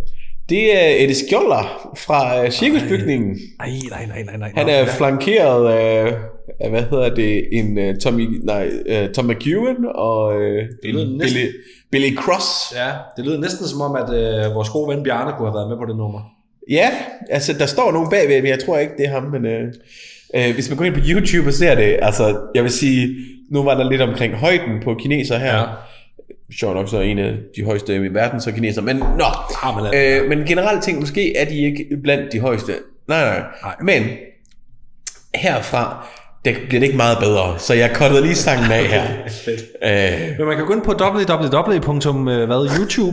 Speaker 2: Det er Eddie Skjolder fra øh, cirkusbygningen.
Speaker 1: Nej, nej, nej, nej, nej.
Speaker 2: Han er flankeret af, af hvad hedder det, en øh, Tommy, nej, øh, Tom McEwen og øh, en
Speaker 1: lyder næsten-
Speaker 2: Billy, Billy Cross.
Speaker 1: Ja, det lyder næsten som om, at øh, vores gode ven Bjarne kunne have været med på det nummer.
Speaker 2: Ja, altså der står nogen bagved, men jeg tror ikke, det er ham. Men, øh, øh, hvis man går ind på YouTube og ser det, altså jeg vil sige, nu var der lidt omkring højden på kineser her. Ja.
Speaker 1: Ja.
Speaker 2: Sjovt nok så er en af de højeste i verden, så kineser. Men nå,
Speaker 1: Ah, men,
Speaker 2: øh, men generelt ting, måske er de ikke blandt de højeste. Nej, nej, nej.
Speaker 1: Nej.
Speaker 2: Men herfra, der bliver det ikke meget bedre, så jeg cuttede lige sangen af her. øh,
Speaker 1: Men man kan gå ind på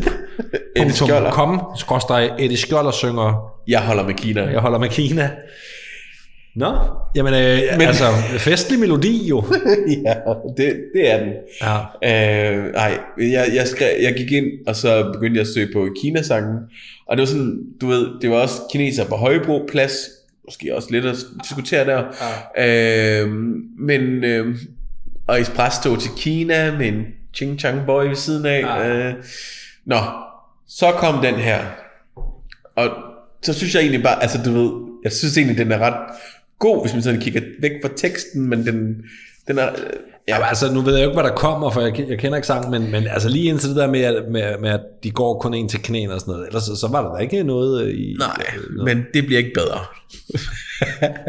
Speaker 2: Skjolder.
Speaker 1: www.www.youtube.com skråstreg Eddie Skjolder synger
Speaker 2: jeg holder med Kina.
Speaker 1: Jeg holder med Kina. Nå, jamen øh,
Speaker 2: Men-
Speaker 1: Men... altså festlig melodi jo.
Speaker 2: ja, det, det er den.
Speaker 1: Ja.
Speaker 2: Øh, nej, jeg, jeg, skrev, jeg gik ind, og så begyndte jeg at søge på Kinasangen. Og det var sådan, du ved, det var også kineser på Højbro Plads. Måske også lidt at diskutere der. Ja. Øh, men, øh, og Espresso tog til Kina med en Ching Chang Boy ved siden af. Ja. Øh, nå, så kom den her. Og så synes jeg egentlig bare, altså du ved, jeg synes egentlig, den er ret god, hvis man sådan kigger væk fra teksten, men den, den er... øh, Ja,
Speaker 1: Jamen, altså, nu ved jeg jo ikke, hvad der kommer, for jeg, ke- jeg kender ikke sangen, men, men altså lige indtil det der med, at- med, med, at de går kun en til knæene og sådan noget, ellers så, så var der da ikke noget øh, i...
Speaker 2: Nej, men det bliver ikke bedre.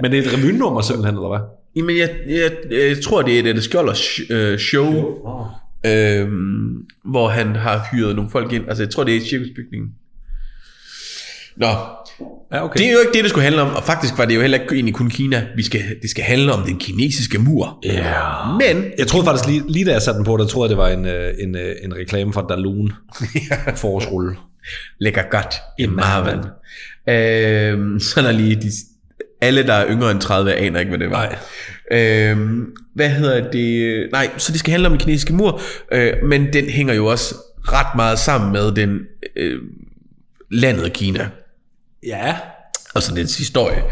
Speaker 1: Men det er et revynummer simpelthen, eller hvad?
Speaker 2: Jamen, jeg, jeg, jeg tror, det er et Dennis Skjolders sh- øh, show, øhm, hvor han har hyret nogle folk ind. Altså, jeg tror, det er i cirkusbygningen. Nå,
Speaker 1: Ja, okay.
Speaker 2: det er jo ikke det, det skulle handle om, og faktisk var det jo heller ikke egentlig kun Kina. Vi skal, det skal handle om den kinesiske mur.
Speaker 1: Yeah.
Speaker 2: Men,
Speaker 1: Jeg troede faktisk lige, lige da jeg satte den på, der troede jeg, det var en, øh, en, øh, en reklame fra Dalun forårsrulle.
Speaker 2: lækker godt i maven. Øhm, så er der lige de, alle, der er yngre end 30, aner ikke, hvad det var.
Speaker 1: Nej.
Speaker 2: Øhm, hvad hedder det? Nej, så det skal handle om den kinesiske mur, øh, men den hænger jo også ret meget sammen med den øh, landet Kina,
Speaker 1: Ja,
Speaker 2: altså dens historie.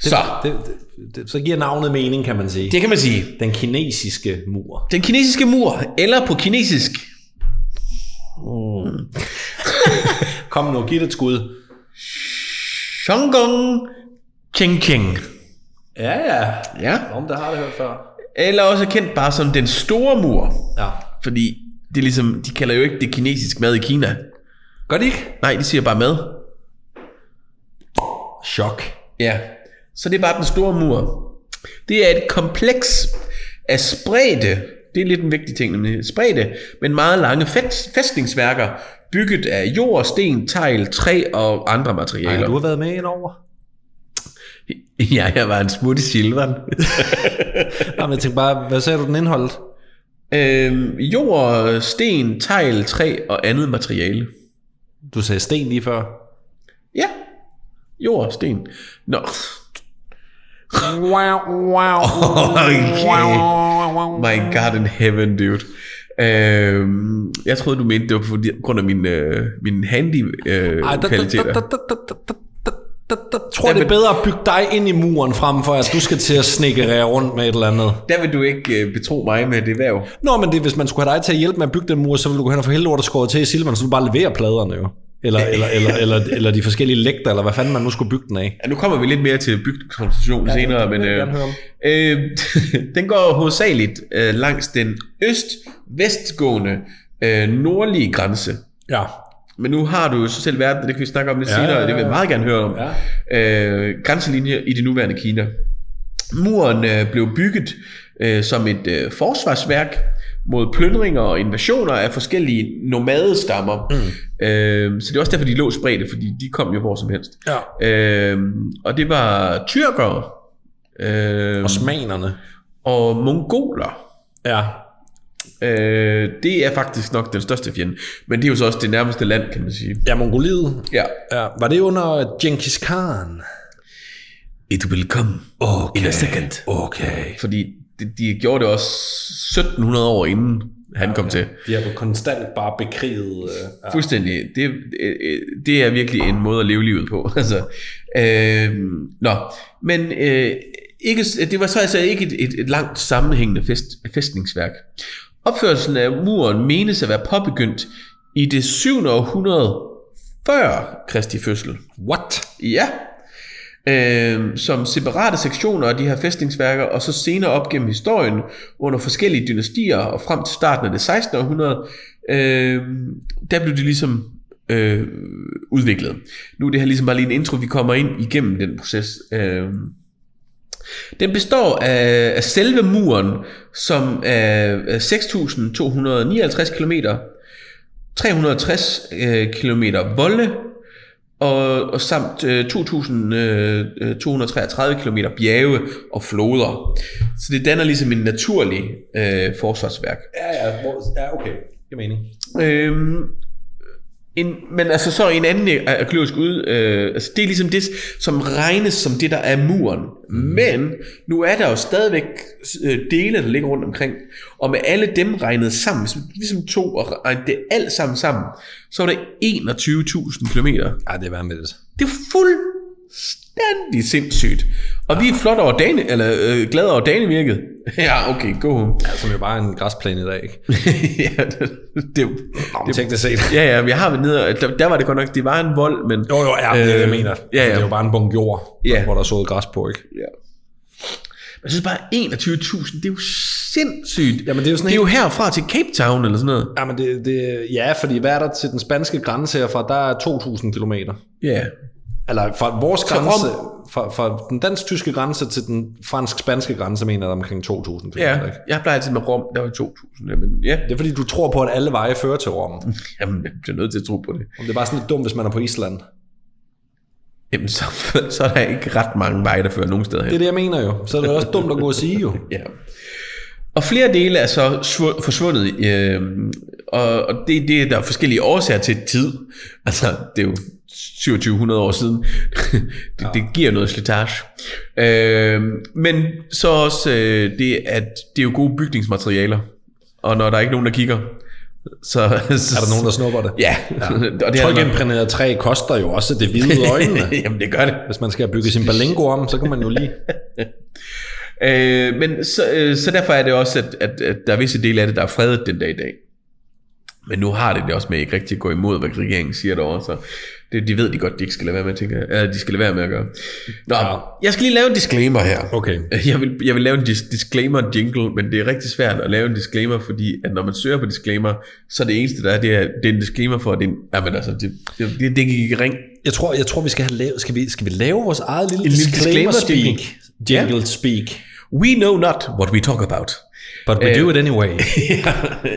Speaker 2: Så,
Speaker 1: det, det, det, så giver navnet mening, kan man sige.
Speaker 2: det kan man sige.
Speaker 1: Den kinesiske mur.
Speaker 2: Den kinesiske mur, eller på kinesisk.
Speaker 1: Kom nu, giv det et skud.
Speaker 2: Shanggong Chengqing.
Speaker 4: Ja, ja.
Speaker 2: Ja.
Speaker 4: Om det har jeg hørt før.
Speaker 2: Eller også kendt bare som den store mur.
Speaker 4: Ja.
Speaker 2: Fordi det er ligesom, de kalder jo ikke det kinesisk mad i Kina.
Speaker 1: Gør det ikke?
Speaker 2: Nej, de siger bare mad.
Speaker 1: Chok.
Speaker 2: Ja. Så det er bare den store mur. Det er et kompleks af spredte, det er lidt en vigtig ting, nemlig spredte, men meget lange fæst, fæstningsværker, bygget af jord, sten, tegl, træ og andre materialer.
Speaker 1: Ej, du har været med ind over.
Speaker 2: Ja, jeg var en smut i silveren.
Speaker 1: Jamen, jeg tænkte bare, hvad sagde du, den indeholdt?
Speaker 2: øhm, jord, sten, tegl, træ og andet materiale.
Speaker 1: Du sagde sten lige før.
Speaker 2: Ja, jord, sten. Nå,
Speaker 4: Wow, wow.
Speaker 2: Okay. my god in heaven, dude. Øhm, jeg troede, du mente, det var på grund af min, øh, min handy øh,
Speaker 1: Ej, der, der, der,
Speaker 2: kvaliteter.
Speaker 1: der, der, der, der, der, der, der tror jeg, det er bedre at bygge dig ind i muren, frem for at du skal til at snikke rundt med et eller andet.
Speaker 2: Der vil du ikke øh, betro mig med det værv.
Speaker 1: Nå, men det, hvis man skulle have dig til at hjælpe med at bygge den mur, så ville du gå hen og få hele lortet skåret til i Silvan, så du bare leverer pladerne jo. Eller, eller, eller, eller, eller de forskellige lægter, eller hvad fanden man nu skulle bygge den af.
Speaker 2: Ja, nu kommer vi lidt mere til bygdekonstruktion ja, senere,
Speaker 1: det vil
Speaker 2: men
Speaker 1: jeg
Speaker 2: øh,
Speaker 1: gerne høre om.
Speaker 2: øh, den går hovedsageligt øh, langs den øst-vestgående øh, nordlige grænse.
Speaker 1: Ja.
Speaker 2: Men nu har du jo så selv verden, og det kan vi snakke om lidt ja, senere,
Speaker 1: ja,
Speaker 2: og det vil jeg
Speaker 1: ja.
Speaker 2: meget gerne høre om. Ja. Øh, grænselinjer i det nuværende Kina. Muren øh, blev bygget øh, som et øh, forsvarsværk mod plyndringer og invasioner af forskellige nomadestammer. Mm. Øh, så det er også derfor, de lå spredte, fordi de kom jo hvor som helst.
Speaker 1: ja.
Speaker 2: Øh, og det var tyrkere øh, og,
Speaker 1: Osmanerne.
Speaker 2: og mongoler.
Speaker 1: Ja.
Speaker 2: Øh, det er faktisk nok den største fjende, men det er jo så også det nærmeste land, kan man sige.
Speaker 1: Ja, Mongoliet.
Speaker 2: Ja.
Speaker 1: Ja. Var det under Genghis Khan?
Speaker 2: It will come
Speaker 1: Okay.
Speaker 2: in a second.
Speaker 1: Okay.
Speaker 2: Fordi de, de gjorde det også 1700 år inden han kom til.
Speaker 1: De har jo konstant bare bekriget... Øh, ja.
Speaker 2: Fuldstændig. Det, øh, øh, det er virkelig en måde at leve livet på. altså, øh, nå, men øh, ikke, det var så altså ikke et, et, et langt sammenhængende fest, festningsværk. Opførelsen af muren menes at være påbegyndt i det 7. århundrede før Kristi fødsel.
Speaker 1: What?
Speaker 2: Ja. Øh, som separate sektioner af de her fæstningsværker, og så senere op gennem historien under forskellige dynastier og frem til starten af det 16. århundrede, øh, der blev de ligesom øh, udviklet. Nu er det her ligesom bare lige en intro, vi kommer ind igennem den proces. Øh, den består af, af selve muren, som er er 6.259 km, 360 øh, km volde, og, og samt øh, 2.233 km bjerge og floder. Så det danner ligesom en naturlig øh, forsvarsværk.
Speaker 1: Ja, ja. Hvor, ja, okay. Det mening.
Speaker 2: Øhm, en, men altså så en anden arkeologisk ud, øh, altså det er ligesom det, som regnes som det, der er muren. Men nu er der jo stadigvæk øh, dele, der ligger rundt omkring, og med alle dem regnet sammen, hvis vi ligesom to og regnede det alt sammen sammen, så var det 21.000 kilometer.
Speaker 1: Ej, det er vanvittigt.
Speaker 2: Det er fuldstændig sindssygt. Og vi er flot over dagen, eller øh, glade over danevirket. Ja, okay, go home.
Speaker 1: Ja, som jo bare er en græsplæne i dag, ikke?
Speaker 2: ja, det, det,
Speaker 1: Om teknisk set.
Speaker 2: Ja, ja, vi har været nede, og der, der var det godt nok, det var en vold, men...
Speaker 1: Jo, jo, ja, det er det, jeg
Speaker 2: Øh,
Speaker 1: mener. Altså,
Speaker 2: ja,
Speaker 1: Det
Speaker 2: ja.
Speaker 1: er jo bare en bunke jord,
Speaker 2: Ja.
Speaker 1: hvor der er sået græs på, ikke?
Speaker 2: Ja. Jeg synes bare, 21.000, det er jo sindssygt.
Speaker 1: Jamen, det er jo sådan
Speaker 2: det er
Speaker 1: helt-
Speaker 2: jo herfra til Cape Town eller sådan noget.
Speaker 1: Jamen det, det, ja, fordi hvad er der til den spanske grænse herfra? Der er 2.000 kilometer.
Speaker 2: Ja.
Speaker 1: Eller fra vores
Speaker 2: Rom-
Speaker 1: grænse, fra, fra den dansk-tyske grænse til den fransk-spanske grænse, mener jeg, der er omkring 2.000 kilometer.
Speaker 2: ja.
Speaker 1: Ikke?
Speaker 2: Jeg plejer altid med Rom, der var 2.000. Jamen, ja.
Speaker 1: Det er fordi, du tror på, at alle veje fører til Rom.
Speaker 2: Jamen, jeg bliver nødt til at tro på det.
Speaker 1: Om det er bare sådan lidt dumt, hvis man er på Island.
Speaker 2: Jamen, så, så er der ikke ret mange veje, der fører nogen steder hen.
Speaker 1: Det er det, jeg mener jo. Så er det også dumt at gå og sige jo.
Speaker 2: Ja. Og flere dele er så svu- forsvundet, øh, og, og det, det er der forskellige årsager til tid. Altså, det er jo 2700 år siden. det, ja. det giver noget slitage. Øh, men så også øh, det, at det er jo gode bygningsmaterialer, og når der er ikke nogen, der kigger, så... er
Speaker 1: Er der nogen, der snupper det?
Speaker 2: Ja, ja. og det er der nok.
Speaker 1: Trykimprægneret træ koster jo også det hvide i øjnene.
Speaker 2: Jamen, det gør det.
Speaker 1: Hvis man skal have bygget sin balingo om, så kan man jo lige...
Speaker 2: Øh, men så, øh, så derfor er det også, at, at, at der er visse dele af det, der er fredet den dag i dag. Men nu har det det også med ikke rigtig at gå imod, hvad regeringen siger derovre, så det, de ved de godt, de ikke skal lade være med at tænke, eller de skal lade være med at gøre. Nå, ja. jeg skal lige lave en disclaimer her.
Speaker 1: Okay.
Speaker 2: Jeg vil, jeg vil lave en dis- disclaimer jingle, men det er rigtig svært at lave en disclaimer, fordi at når man søger på disclaimer, så er det eneste, der er, det er, det er en disclaimer for, at det er en, jamen altså, det, det, det, det gik i ring.
Speaker 1: Jeg tror, jeg tror vi skal have lavet, skal vi, skal vi lave vores eget lille
Speaker 2: En lille disclaimer
Speaker 1: speak.
Speaker 2: jingle.
Speaker 1: Jingle speak.
Speaker 2: We know not what we talk about.
Speaker 1: But we do it anyway.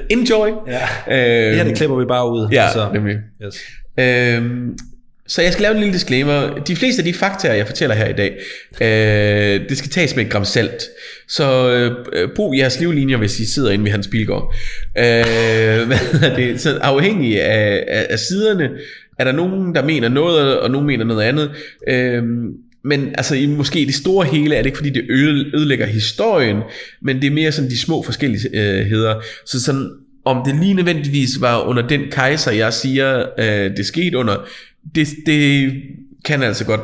Speaker 2: Enjoy.
Speaker 1: Ja.
Speaker 2: Øhm,
Speaker 1: Øh, Det her, det klipper vi bare ud.
Speaker 2: ja,
Speaker 1: så.
Speaker 2: nemlig.
Speaker 1: Yes.
Speaker 2: Øhm, så jeg skal lave en lille disclaimer. De fleste af de fakta, jeg fortæller her i dag, øh, det skal tages med et gram salt. Så øh, øh, brug jeres livlinjer, hvis I sidder inde ved Hans Bilgaard. Øh, hvad hedder det? Så afhængig af, af, af siderne, er der nogen, der mener noget, og nogen mener noget andet. Øh, men altså i måske i det store hele er det ikke fordi det øde- ødelægger historien, men det er mere sådan de små forskelligheder. Så sådan om det lige nødvendigvis var under den kejser, jeg siger, øh, det skete under, det, det kan altså godt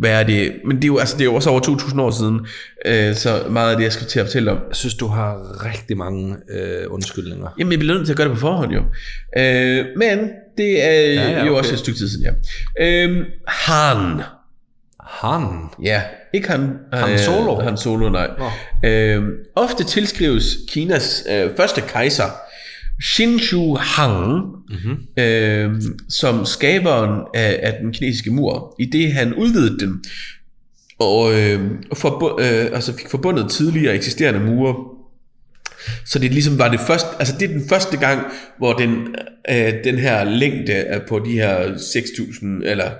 Speaker 2: være det. Men det er jo, altså, det er jo også over 2.000 år siden, øh, så meget af det, jeg skal til at fortælle om.
Speaker 1: Jeg synes, du har rigtig mange øh, undskyldninger.
Speaker 2: Jamen, jeg bliver nødt til at gøre det på forhånd, jo. Øh, men det er ja, ja,
Speaker 1: ja,
Speaker 2: okay. jo
Speaker 1: okay.
Speaker 2: også et stykke tid siden, ja. Øh, han.
Speaker 1: Han.
Speaker 2: Ja, ikke han,
Speaker 1: Han
Speaker 2: øh,
Speaker 1: Solo?
Speaker 2: Han Solo, nej. Øhm, ofte tilskrives Kinas øh, første kejser, Xin Shu Hang, mm-hmm.
Speaker 1: Mhm.
Speaker 2: øhm, som skaberen af, af den kinesiske mur, i det han udvidede den, og øh, forbu- øh, altså fik forbundet tidligere eksisterende mure så det ligesom var det første, altså det er den første gang, hvor den, øh, den her længde er på de her 6.000, eller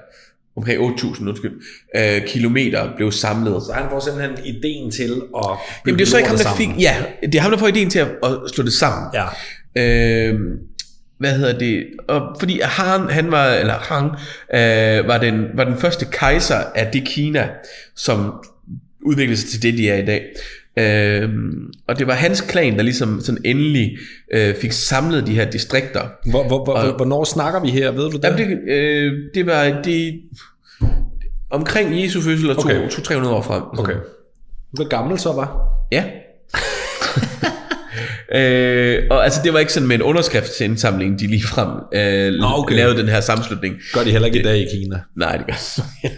Speaker 2: omkring 8.000, undskyld, øh, kilometer blev samlet.
Speaker 1: Så han får simpelthen ideen til at...
Speaker 2: Jamen det er jo så ikke ham, der fik, ja, det er ham, der får ideen til at, at slå det sammen.
Speaker 1: Ja.
Speaker 2: Øhm, hvad hedder det? Og fordi Han, han var, eller Han, øh, var, den, var den første kejser af det Kina, som udviklede sig til det, de er i dag. Øhm, og det var hans klan, der ligesom sådan endelig øh, fik samlet de her distrikter.
Speaker 1: Hvor, hvor, hvor,
Speaker 2: Og-
Speaker 1: hvornår snakker vi her, ved du det?
Speaker 2: Jamen, det, øh, det var det omkring Jesu fødsel og
Speaker 1: Okay.
Speaker 2: 200-300 år frem.
Speaker 1: Okay. Du er gammel så, var.
Speaker 2: Ja. øh, og altså det var ikke sådan med en underskriftsindsamling, de ligefrem øh,
Speaker 1: Nå, okay.
Speaker 2: lavede den her sammenslutning.
Speaker 1: Gør de heller ikke i dag i Kina.
Speaker 2: Nej, det gør jeg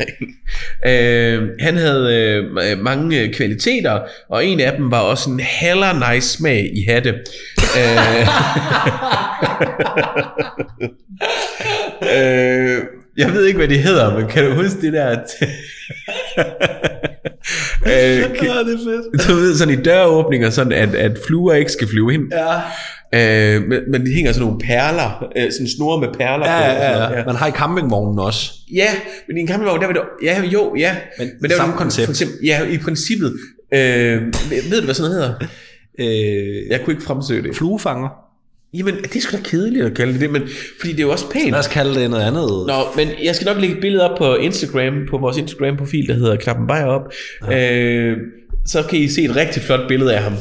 Speaker 2: ikke. øh, han havde øh, ma- mange øh, kvaliteter, og en af dem var også en heller nice smag i hatte. øh, øh, jeg ved ikke, hvad det hedder, men kan du huske det der? øh, kan,
Speaker 1: det er fedt.
Speaker 2: du ved, sådan i døråbninger, sådan at, at fluer ikke skal flyve ind.
Speaker 1: Ja.
Speaker 2: Øh, men, men de hænger sådan nogle perler, øh, sådan snore med perler
Speaker 1: Ja,
Speaker 2: på. og sådan
Speaker 1: ja,
Speaker 2: noget,
Speaker 1: ja, ja. Man har i campingvognen også.
Speaker 2: Ja, men i en campingvogn, der vil det... Ja, jo, ja.
Speaker 1: Men
Speaker 2: der
Speaker 1: samme
Speaker 2: vil-
Speaker 1: koncept.
Speaker 2: For eksempel, ja, i princippet. Øh, ved- ved du, hvad sådan noget hedder?
Speaker 1: Øh,
Speaker 2: Jeg kunne ikke fremsøge det.
Speaker 1: fluefanger.
Speaker 2: Jamen, det er sgu da kedeligt at kalde det det, men, fordi det er jo også pænt.
Speaker 1: Lad os kalde det noget andet.
Speaker 2: Nå, men jeg skal nok lægge et billede op på Instagram, på vores Instagram-profil, der hedder Knappen Bajer op. Ja. Øh, så kan I se et rigtig flot billede af ham.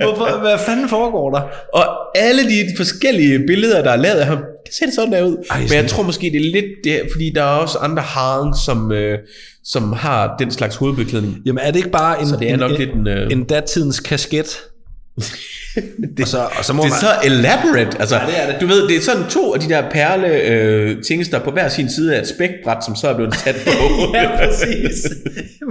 Speaker 1: Hvorfor, hvad fanden foregår der?
Speaker 2: Og alle de forskellige billeder, der er lavet af ham, det ser det sådan der
Speaker 1: Ej,
Speaker 2: ud. Ej, Men jeg
Speaker 1: sådan-
Speaker 2: tror måske, det er lidt det, fordi der er også andre haren, som, øh, som har den slags hovedbeklædning.
Speaker 1: Jamen er det ikke bare en,
Speaker 2: Så det er
Speaker 1: en,
Speaker 2: nok
Speaker 1: en,
Speaker 2: lidt en, øh,
Speaker 1: en datidens kasket?
Speaker 2: Det,
Speaker 1: Og så, og så må
Speaker 2: det er
Speaker 1: man...
Speaker 2: så elaborate. Altså, ja,
Speaker 1: det er det.
Speaker 2: Du ved, det er sådan to af de der perle øh, tingester på hver sin side af et spækbræt, som så er blevet sat på.
Speaker 1: Ja, præcis.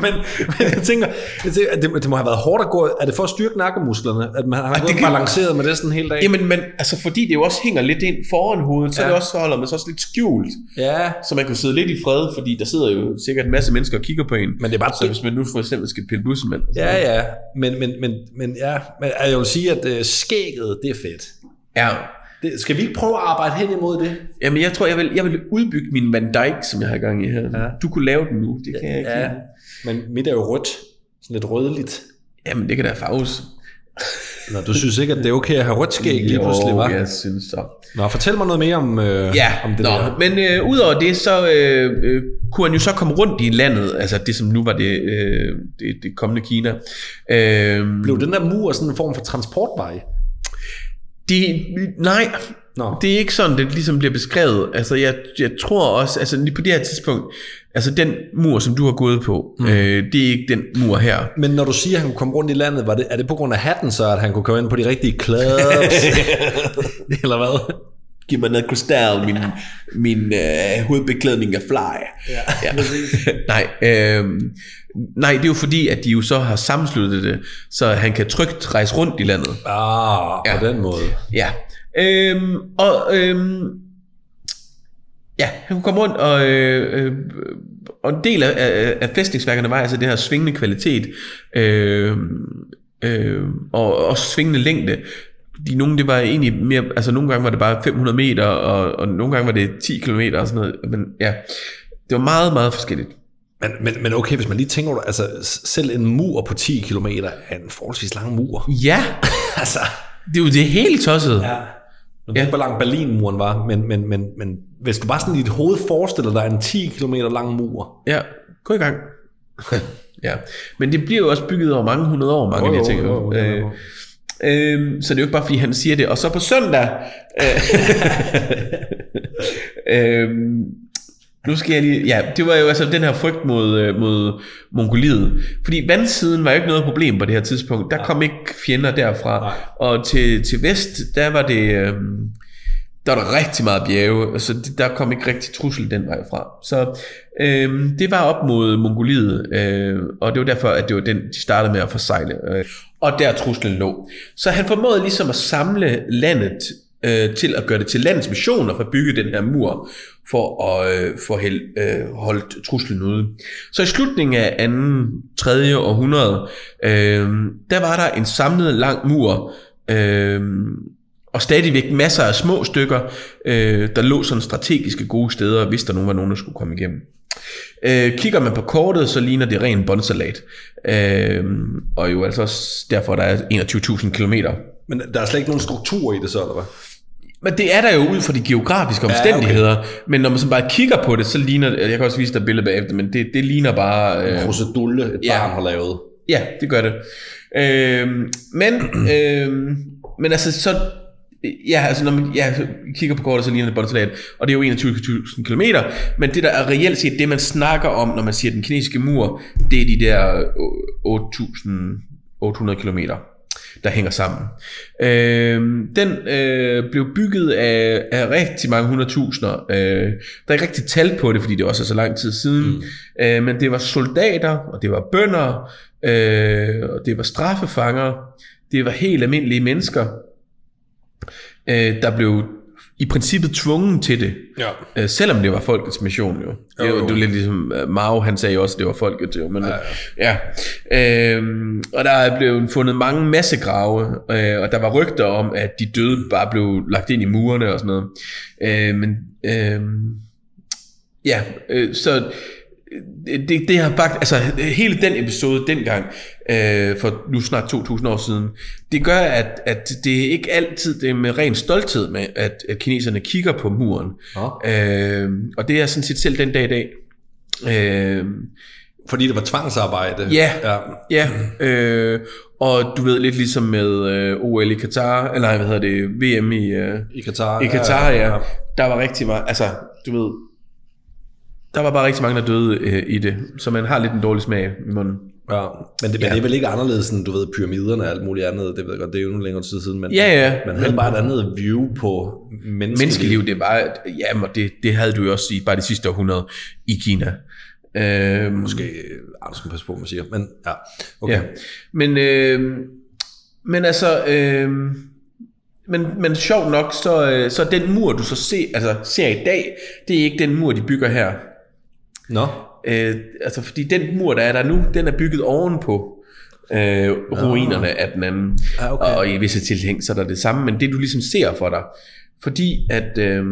Speaker 1: men, men jeg tænker, jeg tænker at det, det, må have været hårdt at gå. Er det for at styrke nakkemusklerne, at man har gået
Speaker 2: kan-
Speaker 1: balanceret med det sådan hele dagen?
Speaker 2: Jamen, men, altså, fordi det jo også hænger lidt ind foran hovedet, så, ja.
Speaker 1: Ja.
Speaker 2: det også, så holder man sig også lidt skjult.
Speaker 1: Ja,
Speaker 2: Så man kan sidde lidt i fred, fordi der sidder jo sikkert en masse mennesker og kigger på en.
Speaker 1: Men det er bare-
Speaker 2: så hvis man nu for eksempel skal pille bussemand.
Speaker 1: ja, ja. Men, men, men, men, ja. men altså, jeg vil sige, at øh, skægget, det er fedt.
Speaker 2: ja.
Speaker 1: Det, skal vi ikke prøve at arbejde hen imod det?
Speaker 2: Jamen, jeg tror, jeg vil, jeg vil udbygge min Van Dijk, som jeg har gang i her. Ja.
Speaker 1: Ja.
Speaker 2: Du kunne lave den nu, det kan jeg ikke. Ja.
Speaker 1: Men mit er jo rødt. Sådan lidt rødligt.
Speaker 2: Jamen, det kan da farves.
Speaker 1: Nå, du synes ikke, at det er okay at have rødt skæg lige pludselig, var?
Speaker 2: Jo, jeg synes så.
Speaker 1: Nå, fortæl mig noget mere om, øh,
Speaker 2: Ja,
Speaker 1: om det
Speaker 2: nå,
Speaker 1: der.
Speaker 2: men øh, udover det, så øh, øh, kunne han jo så komme rundt i landet, altså det som nu var det, øh, det, det kommende Kina. Øh,
Speaker 1: Blev den der mur sådan en form for transportvej?
Speaker 2: de, nej,
Speaker 1: Nå.
Speaker 2: det er ikke sådan, det ligesom bliver beskrevet. Altså jeg, jeg tror også, altså lige på det her tidspunkt, Altså den mur, som du har gået på, mm. øh, det er ikke den mur her.
Speaker 1: Men når du siger, at han kunne komme rundt i landet, var det, er det på grund af hatten så, at han kunne komme ind på de rigtige clubs? Eller hvad?
Speaker 2: Giv mig noget kristal, min, min øh, hovedbeklædning er fly. Ja, ja. nej, øh, nej, det er jo fordi, at de jo så har sammensluttet det, så han kan trygt rejse rundt i landet.
Speaker 1: Ah, ja. på den måde.
Speaker 2: Ja. Øhm, og øhm, ja, han kunne komme rundt, og, øh, øh, og en del af, af, af fæstningsværkerne var altså det her svingende kvalitet, øh, øh, og også svingende længde. De, nogle, det var egentlig mere, altså nogle gange var det bare 500 meter, og, og nogle gange var det 10 km og sådan noget. Men ja, det var meget, meget forskelligt.
Speaker 1: Men, men, men okay, hvis man lige tænker over det, altså s- selv en mur på 10 km er en forholdsvis lang mur.
Speaker 2: Ja,
Speaker 1: altså,
Speaker 2: det er jo det helt tosset.
Speaker 1: ja. Jeg ved ikke, hvor lang Berlinmuren var, men, men, men, men hvis du bare sådan i dit hoved forestiller dig en 10 km lang mur.
Speaker 2: Ja, gå i gang. ja, men det bliver jo også bygget over mange hundrede år, mange af de ting. jo. Øh, Øhm, så det er jo ikke bare fordi han siger det Og så på søndag øh, øhm, Nu skal jeg lige Ja det var jo altså den her frygt mod, øh, mod Mongoliet Fordi vandsiden var jo ikke noget problem på det her tidspunkt Der kom ikke fjender derfra
Speaker 1: Nej.
Speaker 2: Og til, til vest der var det øhm, Der var der rigtig meget bjerge Så det, der kom ikke rigtig trussel den vej fra Så øhm, det var op mod Mongoliet øh, Og det var derfor at det var den de startede med at forsegle øh, og der truslen lå. Så han formåede ligesom at samle landet øh, til at gøre det til landets mission og få bygget den her mur for at øh, for held, øh, holde truslen ude. Så i slutningen af 2. 3. århundrede, øh, der var der en samlet lang mur, øh, og stadigvæk masser af små stykker, øh, der lå sådan strategiske gode steder, hvis der nu var nogen, der skulle komme igennem. Øh, kigger man på kortet, så ligner det ren båndsalat. Øh, og jo altså også derfor, der er 21.000 kilometer.
Speaker 1: Men der er slet ikke nogen struktur i det så, eller hvad?
Speaker 2: Men det er der jo ud fra de geografiske omstændigheder. Ja, okay. Men når man så bare kigger på det, så ligner det... Jeg kan også vise dig billeder bagefter, men det, det ligner bare... Øh,
Speaker 1: Procedulle, et
Speaker 2: ja.
Speaker 1: barn har lavet.
Speaker 2: Ja, det gør det. Øhm, men, øhm, men altså så... Ja, altså når man ja, så kigger på kortet, så ligner det båndsalat, og det er jo 21.000 km, men det der er reelt set, det man snakker om, når man siger den kinesiske mur, det er de der øh, 8.800 km, der hænger sammen. Øhm, den øh, blev bygget af, af rigtig mange hundredtusinder. Øh, der er ikke rigtig tal på det, fordi det også er så lang tid siden, mm. øh, men det var soldater, og det var bønder, øh, og det var straffefanger, det var helt almindelige mennesker, øh, der blev i princippet tvunget til det.
Speaker 1: Ja.
Speaker 2: Øh, selvom det var folkets mission jo. Det er jo,
Speaker 1: Jo, jo.
Speaker 2: det er jo lidt ligesom øh, Mao, han sagde jo også, at det var folket jo. Men, ja. ja. Øhm, og der er blevet fundet mange massegrave, øh, og der var rygter om, at de døde bare blev lagt ind i murene og sådan noget. Øh, men øh, ja, øh, så øh, det, det har faktisk, altså hele den episode dengang, øh, for nu snart 2000 år siden, det gør, at, at det er ikke altid det er med ren stolthed, med, at, at kineserne kigger på muren. Øh, og det er sådan set selv den dag i dag. Øh,
Speaker 1: Fordi det var tvangsarbejde.
Speaker 2: Ja.
Speaker 1: ja.
Speaker 2: ja, øh, og du ved lidt ligesom med øh, OL i Katar, eller nej, hvad hedder det, VM i, øh,
Speaker 1: I Katar.
Speaker 2: i Katar, ja. Der var rigtig meget, altså du ved, der var bare rigtig mange, der døde øh, i det, så man har lidt en dårlig smag i munden.
Speaker 1: Ja, men det, men det er vel ikke anderledes end, du ved, pyramiderne og alt muligt andet, det ved jeg godt, det er jo nu længere tid siden, men
Speaker 2: Ja, ja.
Speaker 1: man havde
Speaker 2: Men-
Speaker 1: bare et andet view på menneskeliv.
Speaker 2: Menneskeliv, det var, jamen og det, det havde du jo også i bare de sidste århundrede i Kina. Øh,
Speaker 1: Måske, ah, du skal passe på, hvad man siger, men ja, okay.
Speaker 2: Okay. Ja. Men, øh, men altså... Øh, men, men sjovt nok, så, øh, så den mur, du så se, altså, ser i dag, det er ikke den mur, de bygger her.
Speaker 1: Nå,
Speaker 2: Øh, altså, fordi den mur, der er der nu, den er bygget ovenpå øh, ruinerne af den anden.
Speaker 1: Ah, okay.
Speaker 2: Og i visse tilhæng, så er der det samme, men det du ligesom ser for dig. Fordi at, øh,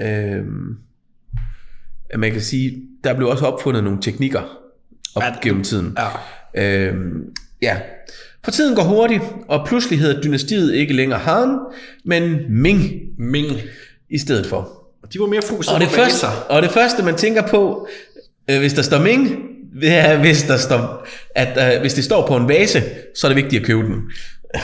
Speaker 2: øh, at man kan sige, der blev også opfundet nogle teknikker op gennem tiden.
Speaker 1: ja.
Speaker 2: Øhm, ja. For tiden går hurtigt, og pludselig hedder dynastiet ikke længere Han, men Ming
Speaker 1: Ming.
Speaker 2: i stedet for.
Speaker 1: De var mere fokuseret
Speaker 2: Og det,
Speaker 1: på
Speaker 2: første,
Speaker 1: vaser.
Speaker 2: og det første, man tænker på, øh, hvis der står Ming, det er, hvis, der står, at, øh, hvis det står på en vase, så er det vigtigt at købe den.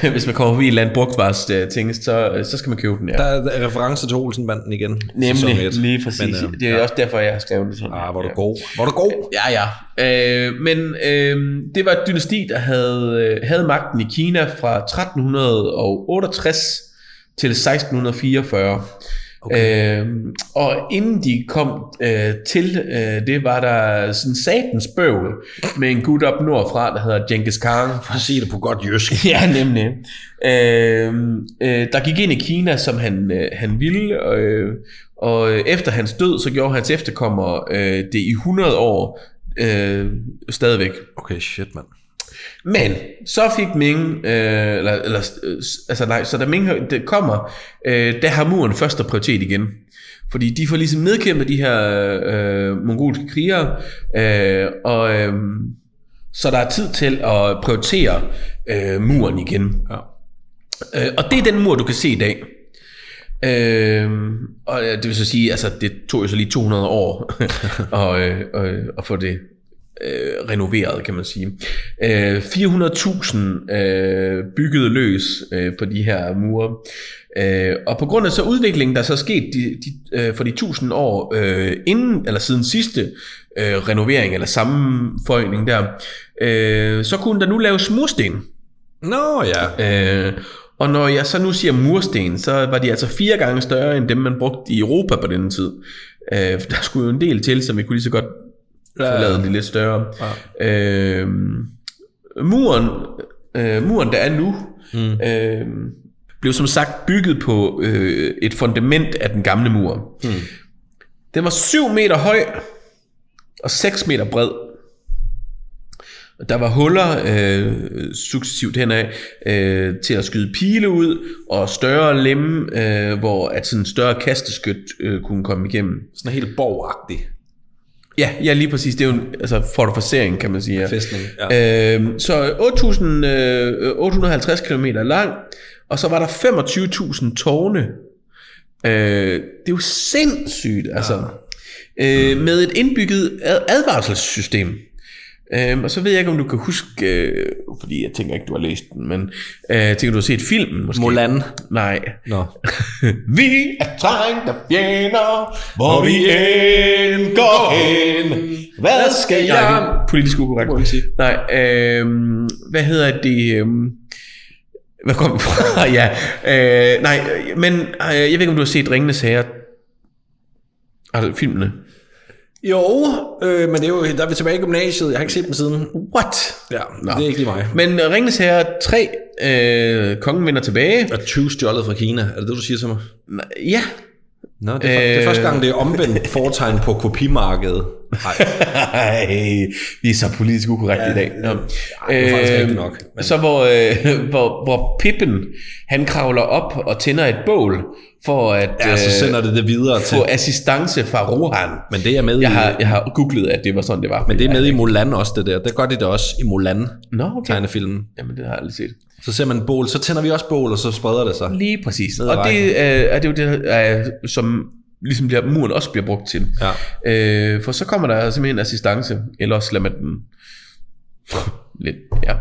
Speaker 2: Hvis man kommer forbi et eller andet brugtvars øh, ting, så, så skal man købe den, ja.
Speaker 1: Der er, der er reference til Olsenbanden igen. sæson
Speaker 2: Nemlig,
Speaker 1: et.
Speaker 2: lige præcis.
Speaker 1: Men, øh,
Speaker 2: det er også derfor, jeg har skrevet det sådan.
Speaker 1: Ah, hvor er
Speaker 2: Ja.
Speaker 1: du god. Hvor er du god.
Speaker 2: Ja, ja. Øh, men øh, det var et dynasti, der havde, øh, havde magten i Kina fra 1368 til 1644. Okay. Øh, og inden de kom øh, til, øh, det var der sådan satans bøvl med en gut op nordfra, der hedder Genghis Khan.
Speaker 1: For at sige det på godt jysk.
Speaker 2: Ja, nemlig. Øh, øh, der gik ind i Kina, som han, øh, han ville, øh, og øh, efter hans død, så gjorde hans efterkommere øh, det i 100 år øh, stadigvæk.
Speaker 1: Okay, shit, mand.
Speaker 2: Men så fik Ming, øh, eller, eller øh, altså nej, så da Ming det kommer, øh, der har muren første prioritet igen. Fordi de får ligesom nedkæmpet de her øh, mongolske krigere, øh, og øh, så der er tid til at prioritere øh, muren igen.
Speaker 1: Ja.
Speaker 2: Øh, og det er den mur, du kan se i dag. Øh, og øh, det vil så sige, altså det tog jo så lige 200 år at, øh, øh, at få det øh, renoveret, kan man sige. Øh, 400.000 øh, byggede løs øh, på de her mure. Øh, og på grund af så udviklingen, der så er sket de, de, øh, for de 1000 år øh, inden, eller siden sidste øh, renovering eller sammenføjning der, øh, så kunne der nu laves mursten.
Speaker 1: Nå ja.
Speaker 2: Øh, og når jeg så nu siger mursten, så var de altså fire gange større end dem, man brugte i Europa på den tid. Øh, for der skulle jo en del til, så vi kunne lige så godt få
Speaker 1: Ja.
Speaker 2: lavet de lidt større. Øh, muren, øh, muren, der er nu, mm. øh, blev som sagt bygget på øh, et fundament af den gamle mur. Mm. Den var 7 meter høj og 6 meter bred. Der var huller øh, successivt henad øh, til at skyde pile ud, og større lemme, øh, hvor at sådan en større kasteskyt øh, kunne komme igennem.
Speaker 1: Sådan helt borgagtig.
Speaker 2: Ja, ja lige præcis. Det er jo en altså, fortificering, kan man sige. Ja.
Speaker 1: Fæstning,
Speaker 2: Øh, så 8.000, øh, 850 km lang, og så var der 25.000 tårne. Øh, det er jo sindssygt, altså. Ja. Øh, med et indbygget ad- advarselssystem. Øhm, og så ved jeg ikke, om du kan huske, øh, fordi jeg tænker ikke, du har læst den, men øh, jeg tænker, du har set filmen måske?
Speaker 1: Mulan.
Speaker 2: Nej.
Speaker 1: Nå.
Speaker 2: Vi er trængt af fjender, hvor vi end går hen. Hvad skal
Speaker 1: Nej, det
Speaker 2: jeg...
Speaker 1: er
Speaker 2: Politisk ukorrekt.
Speaker 1: man sige.
Speaker 2: Nej, øhm, hvad hedder det... Øhm, hvad kom vi fra? ja, øh, nej, men øh, jeg ved ikke, om du har set Ringenes Herre. Altså, filmene.
Speaker 1: Jo, øh, men det er jo, der er vi tilbage i gymnasiet. Jeg har ikke set dem siden.
Speaker 2: What?
Speaker 1: Ja, Nå. det er ikke lige mig.
Speaker 2: Men Ringenes Herre 3, øh, kongen vender tilbage.
Speaker 1: Er 20 stjålet fra Kina? Er det det, du siger til mig?
Speaker 2: Ja,
Speaker 1: Nå, det er, øh... det er første gang, det er omvendt foretegn på kopimarkedet. Øh. Nej,
Speaker 2: Ej, vi er så politisk ukorrekte ja, i dag. Ja.
Speaker 1: det er faktisk
Speaker 2: Øhm,
Speaker 1: rigtigt nok, men-
Speaker 2: Så hvor, øh, hvor, hvor Pippen, han kravler op og tænder et bål, for at øh,
Speaker 1: ja, Altså, så sender det det videre til.
Speaker 2: få assistance fra Rohan.
Speaker 1: Men det er med
Speaker 2: Jeg
Speaker 1: i,
Speaker 2: har, jeg har googlet, at det var sådan, det var.
Speaker 1: men det er med i Mulan også, det der. Det gør de det også i Mulan-tegnefilmen.
Speaker 2: Nå, okay. Jamen, det har jeg aldrig set.
Speaker 1: Så ser man bål, så tænder vi også bål, og så spreder det sig.
Speaker 2: Lige præcis.
Speaker 1: ad
Speaker 2: Og det øh, er det jo det, øh, som ligesom bliver, muren også bliver brugt til.
Speaker 1: Ja.
Speaker 2: Øh, for så kommer der simpelthen assistance, ellers lader man den lidt ja,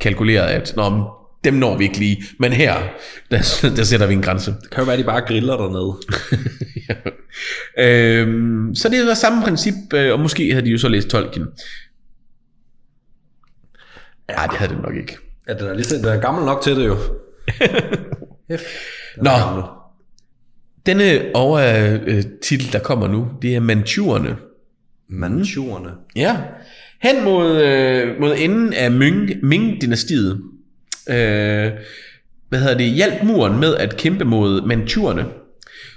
Speaker 2: kalkuleret, at Nå, men dem når vi ikke lige, men her, der, der sætter vi en grænse.
Speaker 1: Det kan jo være, at de bare griller dernede.
Speaker 2: øhm, så det var samme princip, øh, og måske havde de jo så læst Tolkien. Ja, det havde de nok ikke.
Speaker 1: Ja, den er, lige, den er gammel nok til det jo.
Speaker 2: Nå, denne overtitel, der kommer nu, det er Manchurerne.
Speaker 1: Manchurerne.
Speaker 2: Ja. Hen mod, øh, mod enden af Ming- Ming-dynastiet, øh, hvad hedder det, hjalp muren med at kæmpe mod manturerne,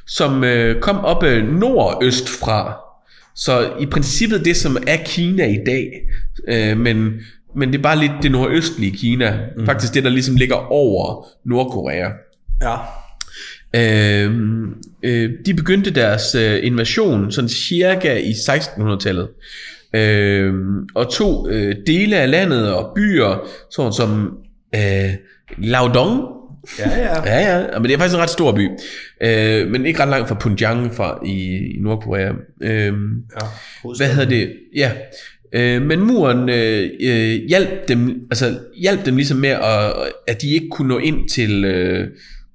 Speaker 2: som øh, kom op øh, nordøst fra. Så i princippet det, som er Kina i dag, øh, men, men det er bare lidt det nordøstlige Kina. Mm. Faktisk det, der ligesom ligger over Nordkorea.
Speaker 1: Ja.
Speaker 2: Øhm, øh, de begyndte deres øh, invasion sådan cirka i 1600-tallet. Øhm, og tog øh, dele af landet og byer, sådan som øh, Laodong.
Speaker 1: Ja, ja.
Speaker 2: Ja, ja, men det er faktisk en ret stor by. Øh, men ikke ret langt fra Punjang fra i, i Nordkorea. Øhm,
Speaker 1: ja.
Speaker 2: hvad hedder det? Ja. Øh, men muren øh, øh, hjalp, dem, altså, hjalp dem ligesom med, at, at de ikke kunne nå ind til, øh,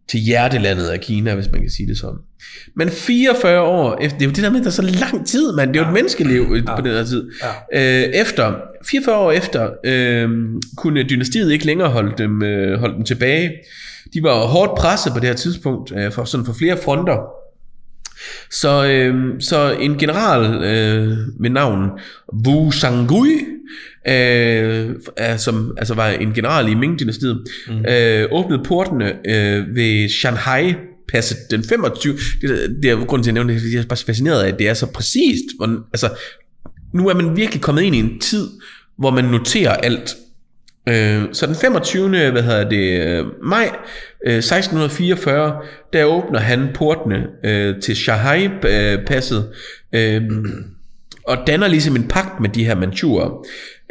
Speaker 2: til hjertelandet af Kina, hvis man kan sige det sådan. Men 44 år efter, det er jo det der med, at der er så lang tid, mand. Det er jo et menneskeliv øh, på den her tid. Øh, efter, 44 år efter, øh, kunne dynastiet ikke længere holde dem, øh, holde dem tilbage. De var jo hårdt presset på det her tidspunkt, øh, for, sådan for flere fronter. Så, øh, så en general øh, med navn Wu Sangui, øh, er, som altså var en general i Ming-dynastiet, mm. øh, åbnede portene øh, ved Shanghai passet den 25. Det, er- det er jo grunden til, at jeg nævner det, fordi jeg er bare så fascineret af, at det er så præcist. Hvor, altså, nu er man virkelig kommet ind i en tid, hvor man noterer alt. Øh, så den 25. Hvad hedder det, øh, maj øh, 1644, der åbner han portene øh, til Shanghai-passet øh, og danner ligesom en pagt med de her manchurer.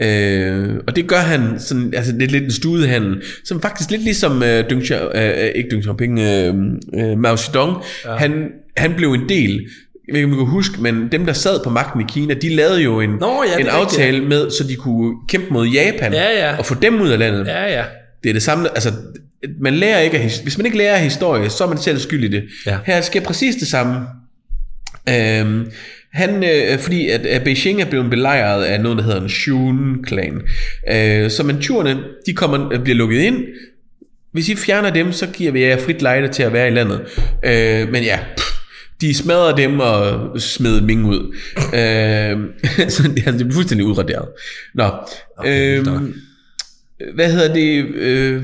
Speaker 2: Øh, og det gør han sådan, altså det er lidt en studehandel, som faktisk lidt ligesom øh, Deng Xia- øh, øh, ikke Deng Xiaoping, øh, øh, Mao Zedong, ja. han, han blev en del jeg ved ikke, om du kan huske, men dem, der sad på magten i Kina, de lavede jo en,
Speaker 4: Nå, ja, det
Speaker 2: en
Speaker 4: er rigtigt.
Speaker 2: aftale tale med, så de kunne kæmpe mod Japan
Speaker 4: Ja, ja.
Speaker 2: og få dem ud af landet.
Speaker 4: Ja, ja.
Speaker 2: Det er det samme, altså man lærer ikke af, his- hvis man ikke lærer af historie, så er man selv skyld i det.
Speaker 1: Ja.
Speaker 2: Her sker præcis det samme. Øhm, han, øh, fordi at, at Beijing er blevet belejret af noget, der hedder en Shun-klan. Øh, så manchurerne, de kommer, bliver lukket ind. Hvis I fjerner dem, så giver vi jer frit lejde til at være i landet. Øh, men ja, pff, de smadrer dem og smider Ming ud. Øh, så det er- det er fuldstændig udraderet. Nå,
Speaker 1: Okay, vildt nok.
Speaker 2: øhm, hvad hedder det... Øh,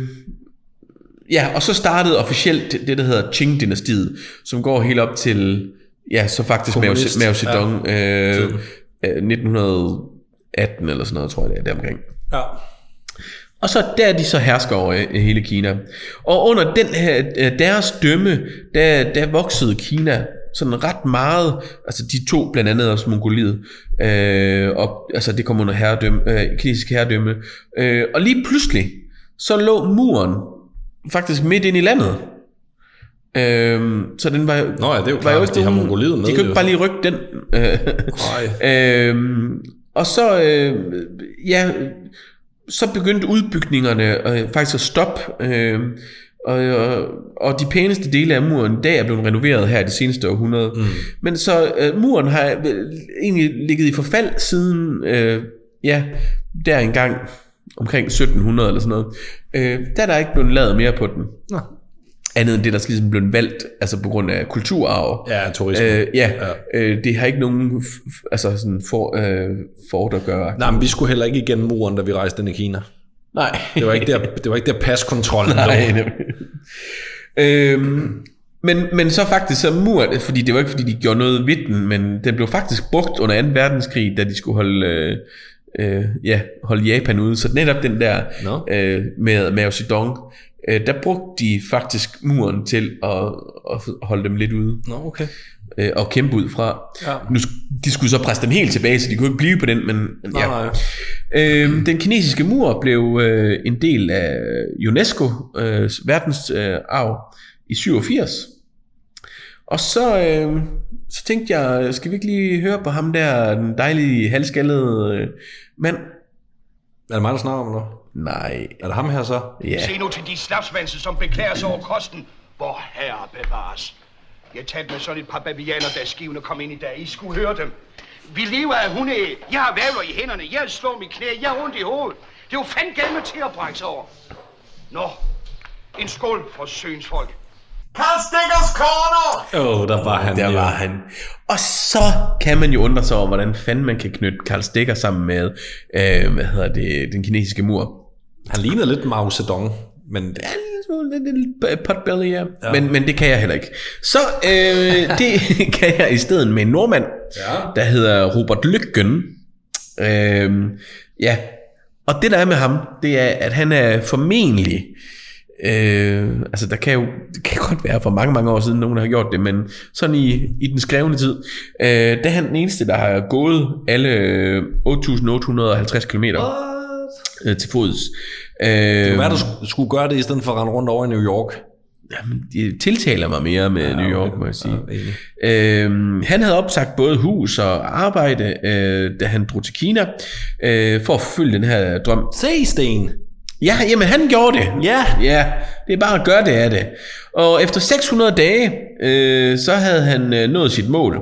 Speaker 2: Ja, og så startede officielt det, der hedder Qing-dynastiet, som går helt op til, ja, så faktisk Mao,
Speaker 1: Kommunist,
Speaker 2: Mao Zedong, ja. øh, øh, 1918 eller sådan noget, tror jeg det er, deromkring.
Speaker 4: Ja.
Speaker 2: Og så der er de så hersker over øh, hele Kina. Og under den her, øh, deres dømme, der, der voksede Kina sådan ret meget. Altså de to blandt andet også Mongoliet. Øh, og, altså det kom under herredømme, øh, kinesisk herredømme. Øh, og lige pludselig, så lå muren faktisk midt ind i landet. Øh, så den var,
Speaker 5: Nå ja, det er jo
Speaker 2: var
Speaker 5: klart,
Speaker 2: jo
Speaker 5: hvis
Speaker 2: ikke
Speaker 5: de har
Speaker 2: nogen-
Speaker 5: Mongoliet med,
Speaker 2: De kunne
Speaker 5: jo.
Speaker 2: ikke bare lige rykke den. Øh, Øhm, og så, øh, ja, så begyndte udbygningerne øh, faktisk at stoppe, øh, og, og, og de pæneste dele af muren i dag er blevet renoveret her i det seneste århundrede. Mm. Men så øh, muren har øh, egentlig ligget i forfald siden, øh, ja, der engang omkring 1700 eller sådan noget. Øh, der er der ikke blevet lavet mere på den. Nå. Andet end det, der skal ligesom blevet valgt, altså på grund af kulturarv.
Speaker 5: Ja, turisme. Øh,
Speaker 2: Øh, ja, øh, det har ikke nogen f- f- altså sådan for, øh, for at gøre.
Speaker 5: Nej, men vi skulle heller ikke igennem muren, da vi rejste ind i Kina.
Speaker 2: Nej.
Speaker 5: Det var ikke der, det var ikke der paskontrollen
Speaker 2: Nej,
Speaker 5: lå.
Speaker 2: nemlig. øhm, men, men så faktisk så muren, fordi det var ikke fordi de gjorde noget ved den, men den blev faktisk brugt under 2. verdenskrig, da de skulle holde, øh, øh, ja, holde Japan ude. Så netop den der
Speaker 5: Nå.
Speaker 2: øh, med Mao Zedong, øh, der brugte de faktisk muren til at, at holde dem lidt ude.
Speaker 5: Nå, okay.
Speaker 2: øh, og kæmpe ud fra.
Speaker 4: Ja.
Speaker 2: Nu, sk- de skulle så presse dem helt tilbage, så de kunne ikke blive på den, men men ja.
Speaker 4: Nej, nej.
Speaker 2: Øhm, den kinesiske mur blev øh, en del af UNESCO øh, verdensarv øh, i 87. Og så, øh, så tænkte jeg, skal vi ikke lige høre på ham der, den dejlige halskaldede øh, mand?
Speaker 1: Er det mig, der snakker om noget?
Speaker 2: Nej,
Speaker 1: Er det ham her så?
Speaker 2: ja.
Speaker 6: Se nu til de slapsvanse, som beklager sig over kosten. Hvor herre bevares. Jeg talte med sådan et par babianer, da skivene kom ind i dag. I skulle høre dem. Vi lever af hundeæg. Jeg har vævler i hænderne. Jeg slår mit knæ. Jeg har ondt i hovedet. Det er jo fandme til at brække sig over. Nå, en skål for søens folk.
Speaker 7: Carl Stickers Corner!
Speaker 1: Åh, oh, der var han.
Speaker 2: Der var han. Og så kan man jo undre sig over, hvordan fanden man kan knytte Karl Stikker sammen med, øh, hvad hedder det, den kinesiske mur.
Speaker 1: Han lignede lidt Mao Zedong, men
Speaker 2: Ja, en lille smule, lidt, lidt potbelly, ja. ja. Men, men det kan jeg heller ikke. Så øh, det kan jeg i stedet med en nordmand, ja. der hedder Robert Lykken. Øh, ja, og det der er med ham, det er, at han er formentlig... Øh, altså der kan jo det kan godt være for mange mange år siden nogen der har gjort det men sådan i, i den skrevne tid øh, der er han den eneste der har gået alle øh, 8.850 km øh, til fods øh,
Speaker 1: hvad du skulle gøre det, i stedet for at rende rundt over i New York?
Speaker 2: jamen, de tiltaler mig mere med New York, må jeg sige.
Speaker 1: enig.
Speaker 2: Øhm, han havde opsagt både hus og arbejde, øh, da han drog til Kina, øh, for at forfølge den her drøm.
Speaker 1: Se, Sten.
Speaker 2: Ja, jamen han gjorde det.
Speaker 1: Ja.
Speaker 2: Ja, det er bare at gøre det af det. Og efter 600 dage, øh, så havde han øh, nået sit mål.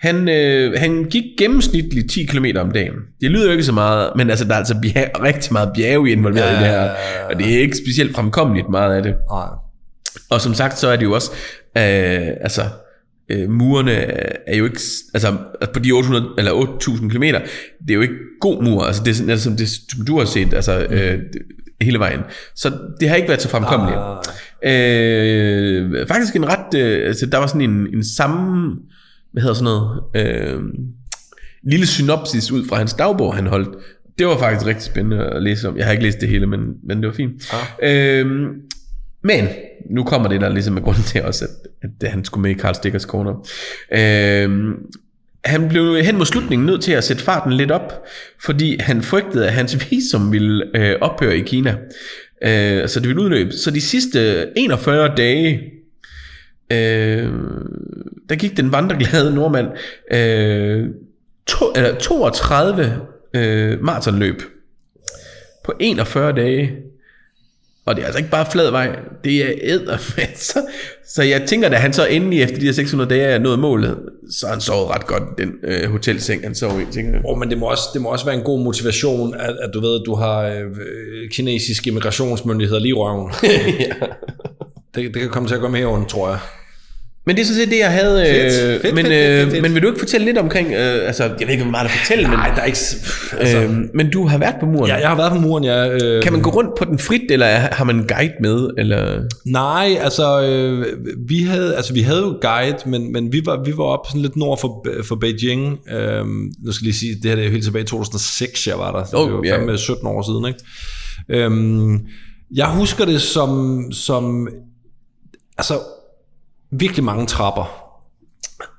Speaker 2: Han, øh, han gik gennemsnitligt 10 km om dagen. Det lyder jo ikke så meget, men altså, der er altså bjerg, rigtig meget bjerge involveret ja. i det her. Og det er ikke specielt fremkommeligt meget af det.
Speaker 1: Nej.
Speaker 2: Og som sagt, så er det jo også, øh, altså, øh, murene er jo ikke, altså på de 800, eller 8000 km, det er jo ikke god mur, altså det er sådan, altså, som, det, som du har set, altså øh, hele vejen. Så det har ikke været så fremkommeligt. Øh, faktisk en ret, øh, altså der var sådan en, en samme, hvad hedder sådan noget, øh, lille synopsis ud fra hans dagbog, han holdt. Det var faktisk rigtig spændende at læse om. Jeg har ikke læst det hele, men, men det var fint. Ah. Øhm, men nu kommer det, der ligesom er grunden til også, at, at han skulle med i Karl Stikkers Corner. Øhm, han blev hen mod slutningen nødt til at sætte farten lidt op, fordi han frygtede, at hans visum ville øh, ophøre i Kina. Øh, så det ville udløbe. Så de sidste 41 dage, øh, der gik den vandreglade nordmand øh, to, eller 32 øh, maratonløb på 41 dage. Og det er altså ikke bare flad vej, det er ædermænd. Så, så jeg tænker, da han så endelig efter de her 600 dage er nået målet, så har han sovet ret godt i den øh, hotelseng, han sov i, tænker jeg.
Speaker 5: Oh, men det må, også, det må også være en god motivation, at, at du ved, at du har øh, øh, kinesiske immigrationsmyndigheder lige i røven. det, det kan komme til at gå med i ånden, tror jeg.
Speaker 2: Men det er sådan set det, jeg havde.
Speaker 1: Fedt,
Speaker 2: øh,
Speaker 1: fedt,
Speaker 2: men,
Speaker 1: fedt, fedt, fedt.
Speaker 2: men vil du ikke fortælle lidt omkring, øh, altså jeg ved ikke, hvor meget at fortælle, men,
Speaker 5: der er ikke... Altså, øh,
Speaker 2: øh, men du har været på muren.
Speaker 5: ja, jeg har været på muren, jeg... Øh,
Speaker 2: Kan man gå rundt på den frit, eller er- har man en guide med? Eller?
Speaker 1: Nej, altså øh, vi havde altså vi havde jo guide, men, men vi var vi var op sådan lidt nord for for Beijing. Øh, nu skal jeg lige sige, det her det er jo helt tilbage i 2006, jeg var der. Så
Speaker 2: Oh,
Speaker 1: det var
Speaker 2: ja.
Speaker 1: fandme 17 år siden, ikke? Øhm, jeg husker det som som altså virkelig mange trapper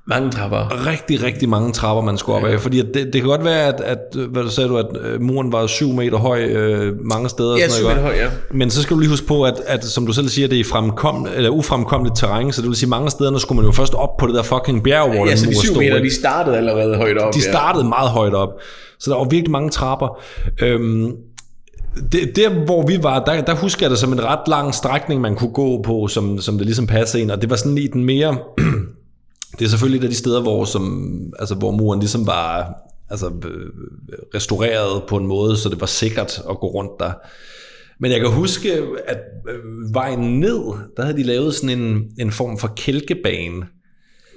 Speaker 2: Mange trapper.
Speaker 1: rigtig, rigtig mange trapper, man skulle op af. Fordi at det, det kan godt være, at, at øh, hvad du sagde du, at øh, muren var 7 meter høj øh, mange steder.
Speaker 2: Ja,
Speaker 1: og sådan
Speaker 2: syv
Speaker 1: noget,
Speaker 2: meter høj,
Speaker 1: ikke?
Speaker 2: ja.
Speaker 1: Men så skal du lige huske på, at, at som du selv siger, det er fremkom, eller ufremkommeligt terræn, så det vil sige, mange steder der skulle man jo først op på det der fucking bjerg, hvor
Speaker 2: Ja,
Speaker 1: den
Speaker 2: så
Speaker 1: mur
Speaker 2: de syv
Speaker 1: stod,
Speaker 2: meter,
Speaker 1: ikke?
Speaker 2: de startede allerede højt op.
Speaker 1: De
Speaker 2: ja.
Speaker 1: startede meget højt op, så der var virkelig mange trapper. Øhm, det, der, hvor vi var, der, der husker jeg det som en ret lang strækning, man kunne gå på, som, som det ligesom passede en, og det var sådan i den mere... det er selvfølgelig et af de steder, hvor, som, altså, hvor muren ligesom var altså, øh, restaureret på en måde, så det var sikkert at gå rundt der. Men jeg kan huske, at øh, vejen ned, der havde de lavet sådan en, en form for kælkebane,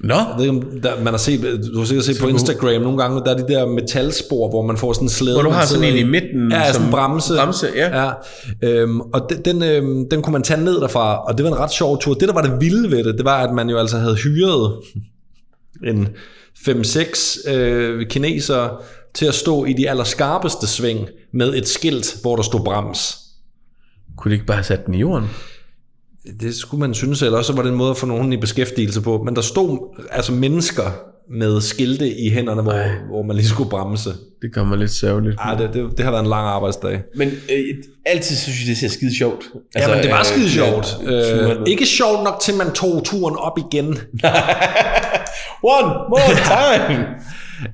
Speaker 2: Nå,
Speaker 1: jeg ved ikke, om der, man har set, du har sikkert set på Instagram nogle gange, der er de der metalspor, hvor man får sådan en slæde.
Speaker 2: Hvor du
Speaker 1: man
Speaker 2: har sådan
Speaker 1: sidder
Speaker 2: en i midten,
Speaker 1: Ja, sådan
Speaker 2: som-
Speaker 1: en bremse.
Speaker 2: bremse, ja.
Speaker 1: ja. Øhm, og den, den, øhm, den kunne man tage ned derfra, og det var en ret sjov tur. Det, der var det vilde ved det, det var, at man jo altså havde hyret en 5-6 øh, kinesere til at stå i de allerskarpeste sving med et skilt, hvor der stod brems.
Speaker 2: kunne de ikke bare have sat den i jorden?
Speaker 1: Det skulle man synes, eller også var det en måde at få nogen i beskæftigelse på. Men der stod altså mennesker med skilte i hænderne, hvor, hvor man lige skulle bremse.
Speaker 2: Det gør mig lidt sørgeligt.
Speaker 1: Ej, det, det, det har været en lang arbejdsdag.
Speaker 2: Men øh, altid synes jeg, det ser skide sjovt.
Speaker 1: Altså, ja, men det var skide sjovt.
Speaker 2: øh,
Speaker 1: Øh,
Speaker 2: turen.
Speaker 1: ikke sjovt nok, til man tog turen op igen.
Speaker 2: One more time!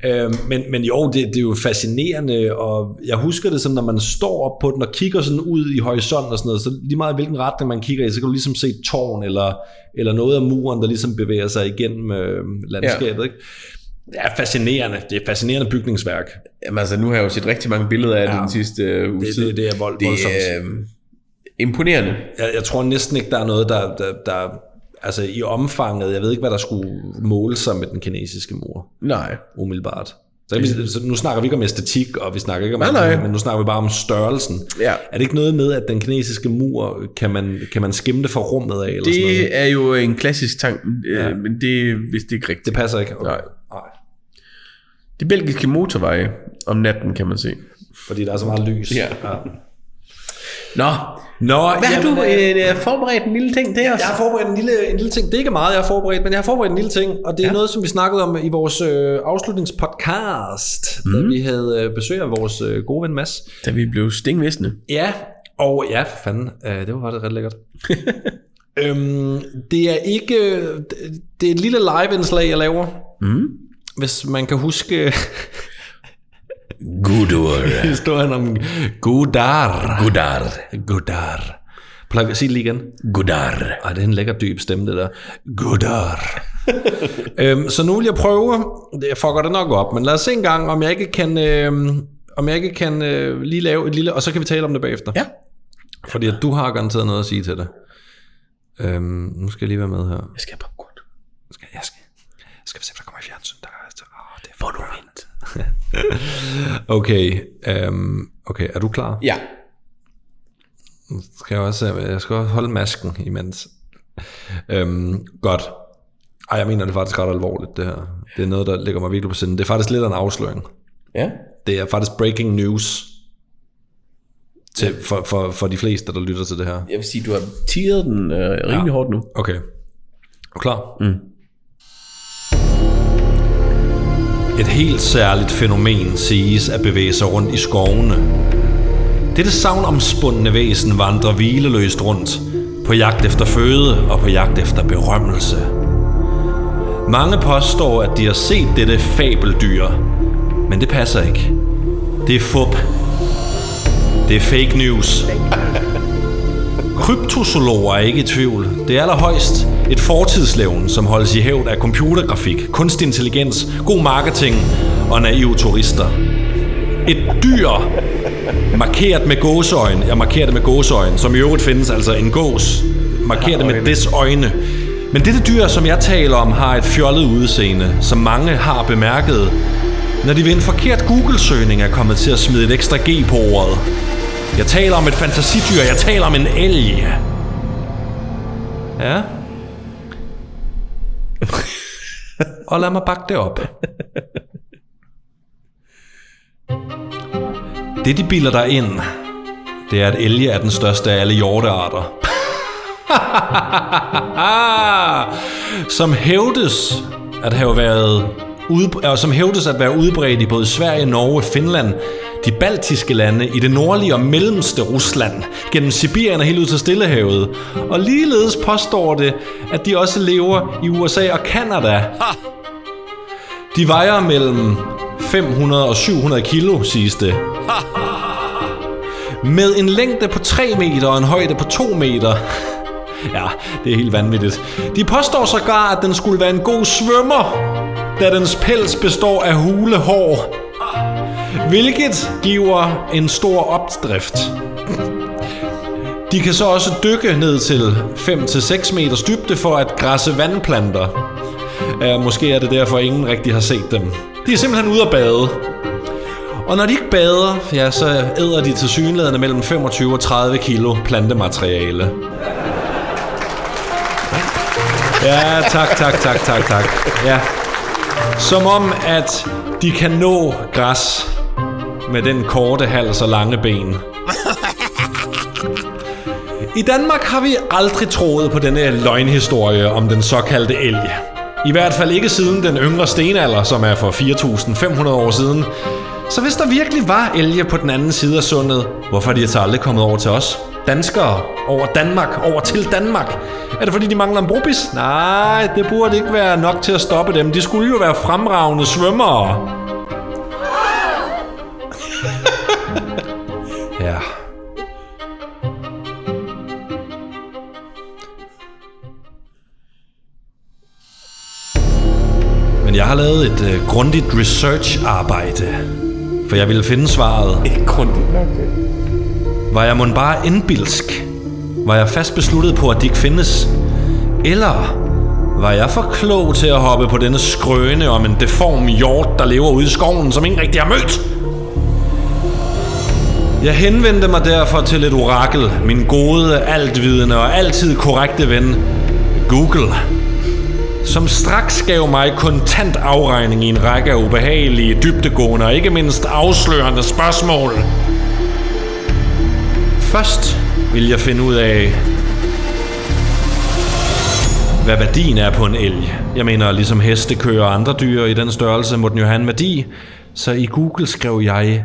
Speaker 1: Øh, men, men jo, det, det er jo fascinerende, og jeg husker det som, når man står op på den og kigger sådan ud i horisonten og sådan noget, så lige meget hvilken retning man kigger i, så kan du ligesom se et tårn eller, eller noget af muren, der ligesom bevæger sig igennem øh, landskabet. Ja. Ikke? Det er fascinerende. Det er et fascinerende bygningsværk.
Speaker 2: Jamen altså, nu har jeg jo set rigtig mange billeder af ja. den sidste øh, uge
Speaker 1: Det-
Speaker 2: tid.
Speaker 1: det- det er vold-
Speaker 2: Det er øh, imponerende.
Speaker 1: Jeg, jeg tror næsten ikke, der er noget, der, der, der altså i omfanget, jeg ved ikke, hvad der skulle måle sig med den kinesiske mur,
Speaker 2: Nej.
Speaker 1: umiddelbart. Så, kan vi, så nu snakker vi ikke om æstetik, og vi snakker ikke om
Speaker 2: Nej,
Speaker 1: alt muligt,
Speaker 2: nej.
Speaker 1: men nu snakker vi bare om størrelsen.
Speaker 2: Ja.
Speaker 1: Er det ikke noget med, at den kinesiske mur, kan man, kan man skimte fra rummet af, eller sådan noget?
Speaker 2: Det er jo en klassisk tank, øh,
Speaker 1: Ja.
Speaker 2: men det hvis det ikke rigtigt.
Speaker 1: Det passer ikke? Okay.
Speaker 2: Nej.
Speaker 1: nej.
Speaker 2: De belgiske motorveje om natten, kan man se.
Speaker 1: Fordi der er så meget lys.
Speaker 2: Ja. Nå,
Speaker 1: Nå,
Speaker 2: hvad har
Speaker 1: jamen,
Speaker 2: du øh, forberedt en lille ting til os?
Speaker 1: Jeg har forberedt en lille, en lille ting. Det er ikke meget, jeg har forberedt, men jeg har forberedt en lille ting, og det er ja. noget, som vi snakkede om i vores øh, afslutningspodcast, mm. da vi havde øh, besøg af vores øh, gode ven Mads.
Speaker 2: Da vi blev stingvisne.
Speaker 1: Ja, og ja, for fanden, øh, det var faktisk ret lækkert. Øhm, det er ikke... øh, Det er et lille live-indslag, jeg laver. Mm. Hvis man kan huske øh,
Speaker 8: Gudur.
Speaker 1: historien om Godar.
Speaker 8: Gudar.
Speaker 1: Godar. Plak, sig det lige igen.
Speaker 8: Gudar.
Speaker 1: Ej, det er en lækker dyb stemme, det der. Godar. øhm, så nu vil jeg prøve, jeg fucker det nok op, men lad os se en gang, om jeg ikke kan, øhm, om jeg ikke kan øh, lige lave et lille, og så kan vi tale om det bagefter.
Speaker 2: Ja.
Speaker 1: Fordi at du har garanteret noget at sige til det. Øhm, nu skal jeg lige være med her.
Speaker 2: Jeg skal have popcorn.
Speaker 1: Skal, jeg skal, skal vi se, hvad der kommer i fjernsyn. Der, er- der, åh, det er for du okay, øhm, okay, er du klar?
Speaker 2: Ja.
Speaker 1: skal jeg også, øh, jeg skal også holde masken imens. Øhm, godt. Ej, jeg mener det er faktisk ret alvorligt, det her. Det er noget, der ligger mig virkelig på sinden. Det er faktisk lidt af en afsløring.
Speaker 2: Ja.
Speaker 1: Det er faktisk breaking news til, for, for, for de fleste, der lytter til det her.
Speaker 2: Jeg vil sige, du har tiret den øh, rimelig hårdt nu.
Speaker 1: Okay. Er du klar? Mm. Et helt særligt fænomen siges at bevæge sig rundt i skovene. Dette savnomspundne væsen vandrer hvileløst rundt, på jagt efter føde og på jagt efter berømmelse. Mange påstår, at de har set dette fabeldyr, men det passer ikke. Det er fup. Det er fake news. Kryptozoologer er ikke i tvivl. Det er allerhøjst et fortidslevn, som holdes i hævd af computergrafik, kunstig intelligens, god marketing og naive turister. Et dyr, markeret med gåseøjne, jeg markerer det med gåseøjne, som i øvrigt findes altså en gås, markeret det med des øjne. Men dette dyr, som jeg taler om, har et fjollet udseende, som mange har bemærket, når de ved en forkert Google-søgning er kommet til at smide et ekstra G på ordet. Jeg taler om et fantasidyr. Jeg taler om en elg. Ja. Og lad mig bakke det op. Det, de bilder dig ind, det er, at elge er den største af alle hjortearter. som hævdes at have været udbredt, og som hævdes at være udbredt i både Sverige, Norge, Finland, de baltiske lande, i det nordlige og mellemste Rusland, gennem Sibirien og helt ud til Stillehavet. Og ligeledes påstår det, at de også lever i USA og Kanada. De vejer mellem 500 og 700 kilo, siges det. Med en længde på 3 meter og en højde på 2 meter. Ja, det er helt vanvittigt. De påstår sågar, at den skulle være en god svømmer, da dens pels består af hulehår. Hvilket giver en stor opdrift. De kan så også dykke ned til 5-6 meters dybde for at græsse vandplanter. Uh, måske er det derfor, ingen rigtig har set dem. De er simpelthen ude at bade. Og når de ikke bader, ja, så æder de til synlædende mellem 25 og 30 kilo plantemateriale. Ja, tak, tak, tak, tak, tak. Ja. Som om, at de kan nå græs med den korte hals og lange ben. I Danmark har vi aldrig troet på denne løgnhistorie om den såkaldte elg. I hvert fald ikke siden den yngre stenalder, som er for 4.500 år siden. Så hvis der virkelig var elge på den anden side af sundet, hvorfor er de altså aldrig kommet over til os? Danskere over Danmark, over til Danmark. Er det fordi, de mangler en brobis? Nej, det burde ikke være nok til at stoppe dem. De skulle jo være fremragende svømmere. Ja. Men jeg har lavet et øh, grundigt research-arbejde, for jeg ville finde svaret.
Speaker 2: Ikke grundigt nok.
Speaker 1: Var jeg mon bare indbilsk? Var jeg fast besluttet på, at de ikke findes? Eller var jeg for klog til at hoppe på denne skrøne om en deform hjort, der lever ude i skoven, som ingen rigtig har mødt? Jeg henvendte mig derfor til et orakel, min gode, altvidende og altid korrekte ven, Google, som straks gav mig kontant afregning i en række af ubehagelige, dybtegående og ikke mindst afslørende spørgsmål. Først vil jeg finde ud af, hvad værdien er på en elg. Jeg mener, ligesom heste, køer og andre dyr i den størrelse, må den jo have en værdi. Så i Google skrev jeg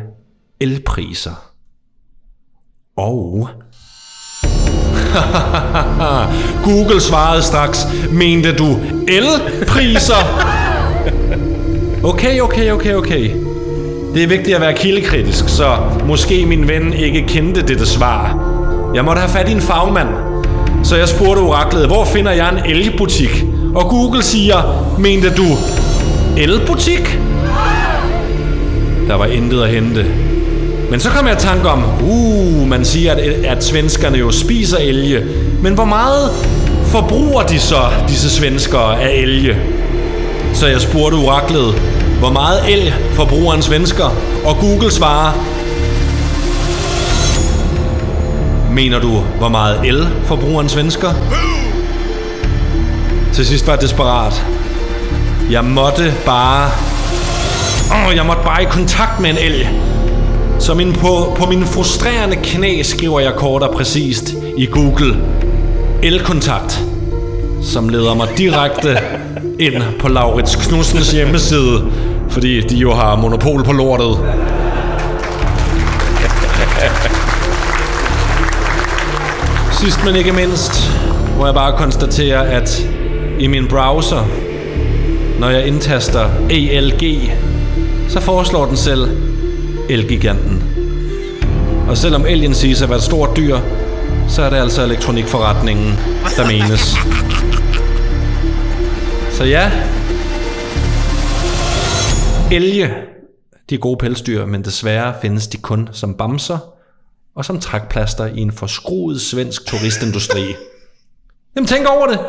Speaker 1: elpriser. Og... Google svarede straks, mente du elpriser? Okay, okay, okay, okay. Det er vigtigt at være kildekritisk, så måske min ven ikke kendte dette svar. Jeg måtte have fat i en fagmand. Så jeg spurgte oraklet, hvor finder jeg en elbutik? Og Google siger, mente du elbutik? Der var intet at hente. Men så kom jeg i tanke om, uh, man siger, at, at svenskerne jo spiser elge. Men hvor meget forbruger de så, disse svenskere, af elge? Så jeg spurgte oraklet, hvor meget el forbruger en svensker? Og Google svarer, Mener du, hvor meget el forbruger en svensker? Til sidst var jeg desperat. Jeg måtte bare... Åh, jeg måtte bare i kontakt med en elg. Så min, på, på min frustrerende knæ skriver jeg kort og præcist i Google. Elkontakt som leder mig direkte ind på Laurits Knudsens hjemmeside, fordi de jo har monopol på lortet. Sidst men ikke mindst, må jeg bare konstatere, at i min browser, når jeg indtaster ALG, så foreslår den selv Elgiganten. Og selvom alien siges at være et stort dyr, så er det altså elektronikforretningen, der menes. Så ja. Elge. De er gode pelsdyr, men desværre findes de kun som bamser og som trækplaster i en forskruet svensk turistindustri. Jamen tænk over det.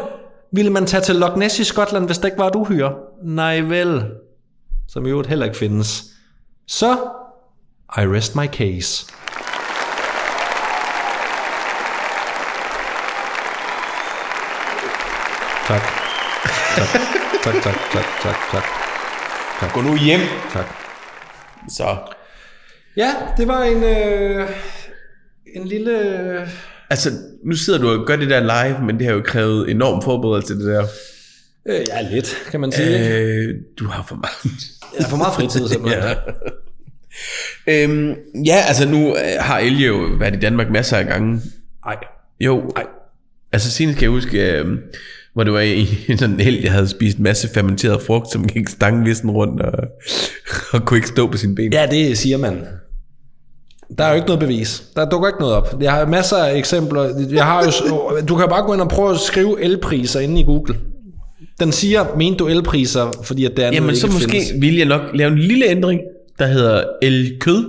Speaker 1: Ville man tage til Loch Ness i Skotland, hvis det ikke var et uhyre? Nej vel. Som i øvrigt heller ikke findes. Så, I rest my case. Tak. Tak, tak, tak, tak, tak, tak.
Speaker 2: Gå nu hjem.
Speaker 1: tak.
Speaker 2: Så.
Speaker 1: Ja, det var en, øh, en lille...
Speaker 2: Altså, nu sidder du og gør det der live, men det har jo krævet enorm forberedelse, det der.
Speaker 1: Øh, ja, lidt, kan man sige. Øh,
Speaker 2: Øh, du har for meget.
Speaker 1: jeg har for meget fritid, simpelthen. ja.
Speaker 2: Øhm, ja, altså nu øh, har Elge jo været i Danmark masser af gange.
Speaker 1: Ej.
Speaker 2: Jo. Ej. Altså senest kan jeg huske, øh, hvor det var i en sådan en elg, jeg havde spist en masse fermenteret frugt, som gik stangvissen rundt og, og kunne ikke stå på sine ben.
Speaker 1: ja, det siger man. Der er jo ikke noget bevis. Der dukker ikke noget op. Jeg har masser af eksempler. Jeg har jo, s- du kan bare gå ind og prøve at skrive elpriser inde i Google. Den siger, mente du elpriser, fordi at det andet
Speaker 2: Jamen
Speaker 1: ikke
Speaker 2: så måske
Speaker 1: findes.
Speaker 2: vil jeg nok lave en lille ændring, der hedder elgkød.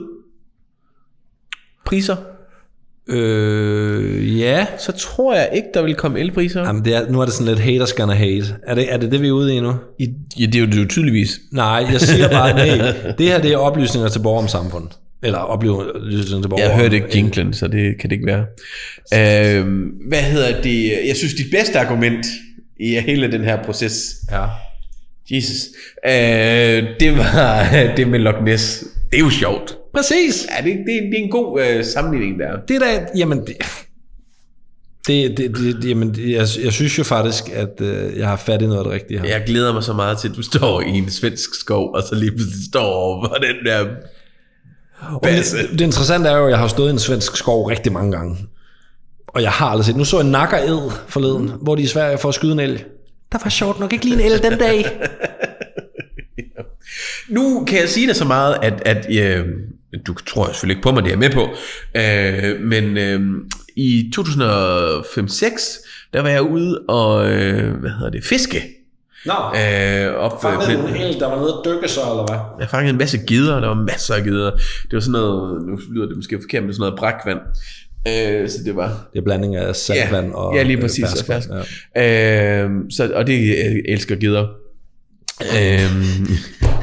Speaker 2: Priser.
Speaker 1: Øh, ja.
Speaker 2: Så tror jeg ikke, der vil komme elpriser.
Speaker 1: Jamen, det er, nu er det sådan lidt haters gonna hate. Er det, er det det, vi er ude i nu?
Speaker 2: I- Ja, det er jo det er jo tydeligvis.
Speaker 1: Nej, jeg siger bare, nej. Det her, det er oplysninger til borgere om samfundet. Eller oplysninger til borgere
Speaker 2: Jeg
Speaker 1: om-
Speaker 2: hørte ikke jinglen, så det kan det ikke være. Øhm, hvad hedder det? Jeg synes, dit bedste argument i hele den her proces,
Speaker 1: Ja.
Speaker 2: Jesus, øh, det var det med Loch Ness. Det er jo sjovt.
Speaker 1: Præcis.
Speaker 2: Ja, det, det, det er en god øh, sammenligning der.
Speaker 1: Det der, jamen... Det, det, det, det, jamen, det- jeg, jeg synes jo faktisk, at øh, jeg har fat i noget af det rigtige her.
Speaker 2: Jeg glæder mig så meget til, at du står i en svensk skov, og så lige pludselig står over for den der basse.
Speaker 1: det, det interessante er jo, at jeg har stået i en svensk skov rigtig mange gange. Og jeg har aldrig set... Nu så jeg nakkered forleden, mm. hvor de i Sverige får at skyde en el. Der var sjovt nok ikke lige en el den dag.
Speaker 2: Nu kan jeg sige dig så meget, at, at øh, du tror jeg selvfølgelig ikke på mig, det er jeg med på, øh, men øh, i 2005-6, der var jeg ude og, øh, hvad hedder det, fiske.
Speaker 1: Nå,
Speaker 2: Øh, op,
Speaker 1: fangede du
Speaker 2: øh,
Speaker 1: en el, der var nede at dykke så, eller hvad?
Speaker 2: jeg fangede en masse gider, der var masser af gider. Det var sådan noget, nu lyder det måske forkert, men det var sådan noget brakvand. Øh, så det var
Speaker 1: Det er blanding af saltvand
Speaker 2: ja,
Speaker 1: og
Speaker 2: Ja, lige
Speaker 1: øh,
Speaker 2: præcis. og
Speaker 1: ferskvand,
Speaker 2: fersk. Ja. Øhm, så, og det øh, elsker gider. Øhm,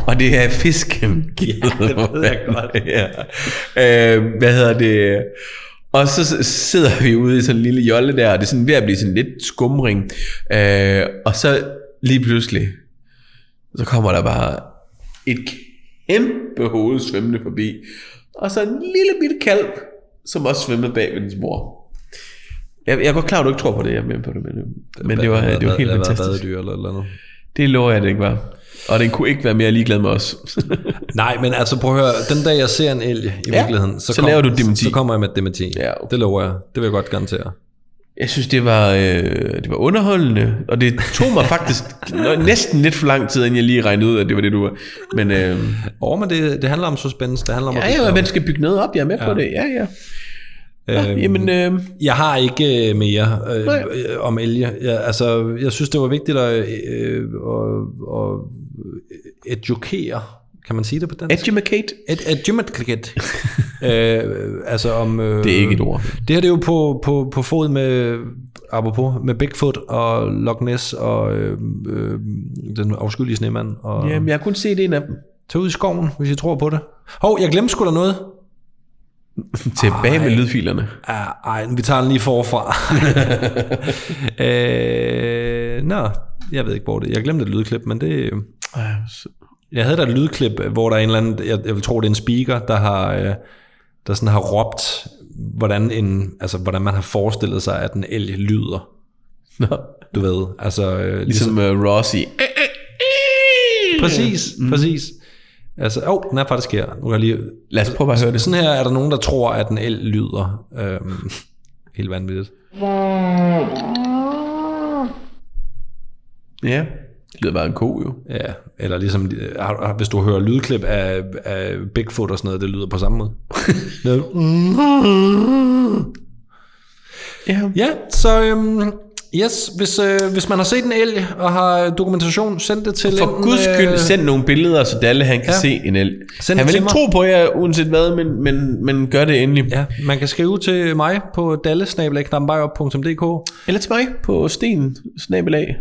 Speaker 2: og det er fiskegider. Ja, det ved jeg godt. ja. øhm, hvad hedder det? Og så s- sidder vi ude i sådan en lille jolle der, og det er sådan ved at blive sådan lidt skumring. Øh, og så lige pludselig, så kommer der bare et kæmpe hoved svømmende forbi, og så en lille bitte kalv, som også svømmede bag ved dens mor. Jeg, jeg er godt klar, at du ikke tror på det, jeg er med på det, men, men det var, det var helt fantastisk.
Speaker 1: Badedyr eller, eller noget.
Speaker 2: Det lover jeg, det ikke var. Og den kunne ikke være mere ligeglad med os.
Speaker 1: Nej, men altså prøv at høre, den dag jeg ser en elg i ja, virkeligheden, så,
Speaker 2: så laver du dementi.
Speaker 1: Så kommer jeg med et dementi.
Speaker 2: Ja, okay.
Speaker 1: Det lover jeg. Det vil jeg godt garantere.
Speaker 2: Jeg synes, det var, øh, det var underholdende, og det tog mig faktisk nø- næsten lidt for lang tid, inden jeg lige regnede ud, at det var det, du var. Men øh,
Speaker 1: Åh, men det, det handler om suspense, det handler om... at
Speaker 2: ja,
Speaker 1: bygge
Speaker 2: ja,
Speaker 1: op.
Speaker 2: man skal bygge noget op, jeg er med ja. på det. Ja, ja. ja
Speaker 1: Øhm,
Speaker 2: jamen, øh,
Speaker 1: Jeg har ikke øh, mere øh,
Speaker 2: Nej.
Speaker 1: øh, om Elge. Jeg, altså, jeg synes, det var vigtigt at, øh, at, at edukere, kan man sige det på dansk?
Speaker 2: edumacate.
Speaker 1: Et, edumacate. øh, altså om... Øh,
Speaker 2: Det er ikke et ord.
Speaker 1: Det her det er jo på, på, på fod med, apropos, med Bigfoot og Loch Ness og øh, øh, den afskyelige snemand. Og,
Speaker 2: Jamen, jeg har kun set en af dem.
Speaker 1: Tag ud i skoven, hvis I tror på det. Hov, jeg glemte sgu da noget.
Speaker 2: Tilbage med lydfilerne. Altså
Speaker 1: Ja, ej, vi tager den lige forfra. øh, nå, jeg ved ikke, hvor det Jeg glemte et lydklip, men det... Jeg havde da et lydklip, hvor der er en eller anden... Jeg, jeg vil tro, det er en speaker, der har... Øh, der sådan har råbt, hvordan, en, altså, hvordan man har forestillet sig, at en elg lyder.
Speaker 2: Nå.
Speaker 1: Du ved, altså... Øh, ligesom, ligesom,
Speaker 2: Ligesom øh, Rossi.
Speaker 1: præcis, mm. præcis. Altså, åh, oh, den er faktisk her. Nu kan jeg lige...
Speaker 2: Lad os prøve at høre det.
Speaker 1: Sådan her er der nogen, der tror, at en elg lyder. Øhm, helt vanvittigt.
Speaker 2: Ja. Det lyder bare en ko, jo.
Speaker 1: Ja, eller ligesom, øh, har- har- hvis du hører lydklip af, af Bigfoot og sådan noget, det lyder på samme måde.
Speaker 2: Mm. Ja.
Speaker 1: ja, så øhm, yes, hvis, øh, hvis man har set en elg og har dokumentation, send det til
Speaker 2: For
Speaker 1: enten,
Speaker 2: guds skyld,
Speaker 1: øh,
Speaker 2: send nogle billeder, så Dalle han kan ja. se en el.
Speaker 1: Send
Speaker 2: han
Speaker 1: det til
Speaker 2: vil ikke
Speaker 1: mig.
Speaker 2: tro på jer, uanset hvad, men, men, men gør det endelig.
Speaker 1: Ja, man kan skrive til mig på dallesnabelagknappenbejop.dk.
Speaker 2: Eller til mig på sten, snabelag,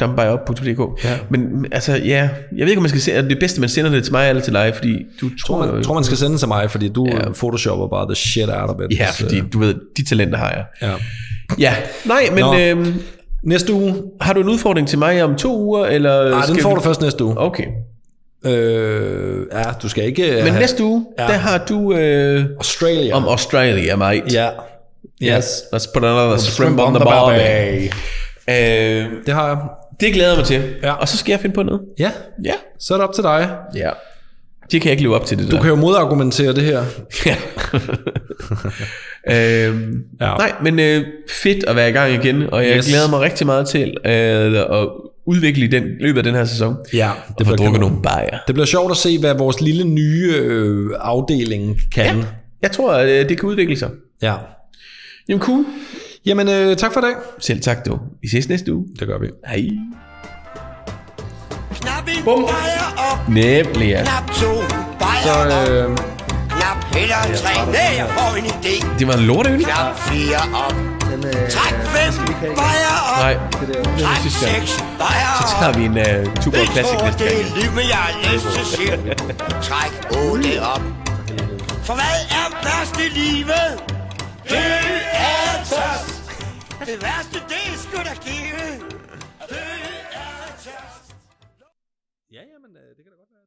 Speaker 2: dampbejop.dk. Ja. Men altså, ja, jeg ved ikke, om man skal se, er det bedste, man sender det til mig eller til dig, fordi du tror,
Speaker 1: Tror man, tror man skal sende til mig, fordi du
Speaker 2: Ja.
Speaker 1: ja. photoshopper bare the shit out of it.
Speaker 2: Ja,
Speaker 1: Så,
Speaker 2: fordi du ved, de talenter har jeg.
Speaker 1: Ja.
Speaker 2: Ja, nej,
Speaker 1: Nå.
Speaker 2: men øhm,
Speaker 1: Næste uge.
Speaker 2: har du en udfordring til mig om to uger, eller
Speaker 1: Nej, den får du først næste uge.
Speaker 2: Okay,
Speaker 1: Øh, ja, du skal ikke...
Speaker 2: men næste uge, ja.
Speaker 1: Ja.
Speaker 2: der har du øh,
Speaker 1: Australia.
Speaker 2: om Australia, mate.
Speaker 1: Ja. Yes.
Speaker 2: Let's put another shrimp
Speaker 1: Shrimp
Speaker 2: on
Speaker 1: on
Speaker 2: the
Speaker 1: the
Speaker 2: barbie. Øh,
Speaker 1: Det har jeg.
Speaker 2: det glæder jeg mig til.
Speaker 1: Ja.
Speaker 2: Og så skal jeg finde på noget.
Speaker 1: Ja,
Speaker 2: Ja.
Speaker 1: så er det op til dig.
Speaker 2: ja. Det kan jeg ikke leve op til, det der.
Speaker 1: Du kan jo modargumentere det her.
Speaker 2: Ja. øhm, ja.
Speaker 1: Ja.
Speaker 2: Nej, men øh, fedt at være i gang igen, og jeg yes.
Speaker 1: Yes.
Speaker 2: glæder mig rigtig meget til øh, at udvikle i den, løbet af den her sæson.
Speaker 1: Ja,
Speaker 2: Det får
Speaker 1: bliver
Speaker 2: drukket
Speaker 1: kanon.
Speaker 2: nogle bajer.
Speaker 1: Det bliver sjovt at se, hvad vores lille nye øh, afdeling kan. Ja.
Speaker 2: Jeg tror, at øh, det kan udvikle sig.
Speaker 1: ja.
Speaker 2: Jamen cool.
Speaker 1: Jamen, øh, tak for i dag.
Speaker 2: Selv tak du. Vi ses næste uge.
Speaker 1: Det gør vi.
Speaker 2: Hej.
Speaker 9: Knap en
Speaker 2: Bum.
Speaker 9: bajer og
Speaker 2: Nemlig. Ja.
Speaker 9: knap to bajer
Speaker 1: Så,
Speaker 9: og
Speaker 1: øh,
Speaker 9: knap heller tre. Nej, jeg får en idé.
Speaker 2: Det var en lorteøl.
Speaker 9: Knap fire op.
Speaker 1: øh,
Speaker 9: Træk fem bajer op.
Speaker 2: Nej, det var
Speaker 9: Træk
Speaker 2: sidste gang.
Speaker 9: seks bajer
Speaker 2: Så
Speaker 9: op.
Speaker 2: tager vi en uh, Tuborg
Speaker 9: Jeg
Speaker 2: Classic
Speaker 9: tror,
Speaker 2: næste
Speaker 9: det
Speaker 2: gang.
Speaker 9: er liv, men jeg har lyst til siger. Træk otte op. For hvad er værst i livet? Det er tørst. Det værste, det er sgu da givet. Det er tørst.
Speaker 1: ja, jamen, øh, det kan da godt være.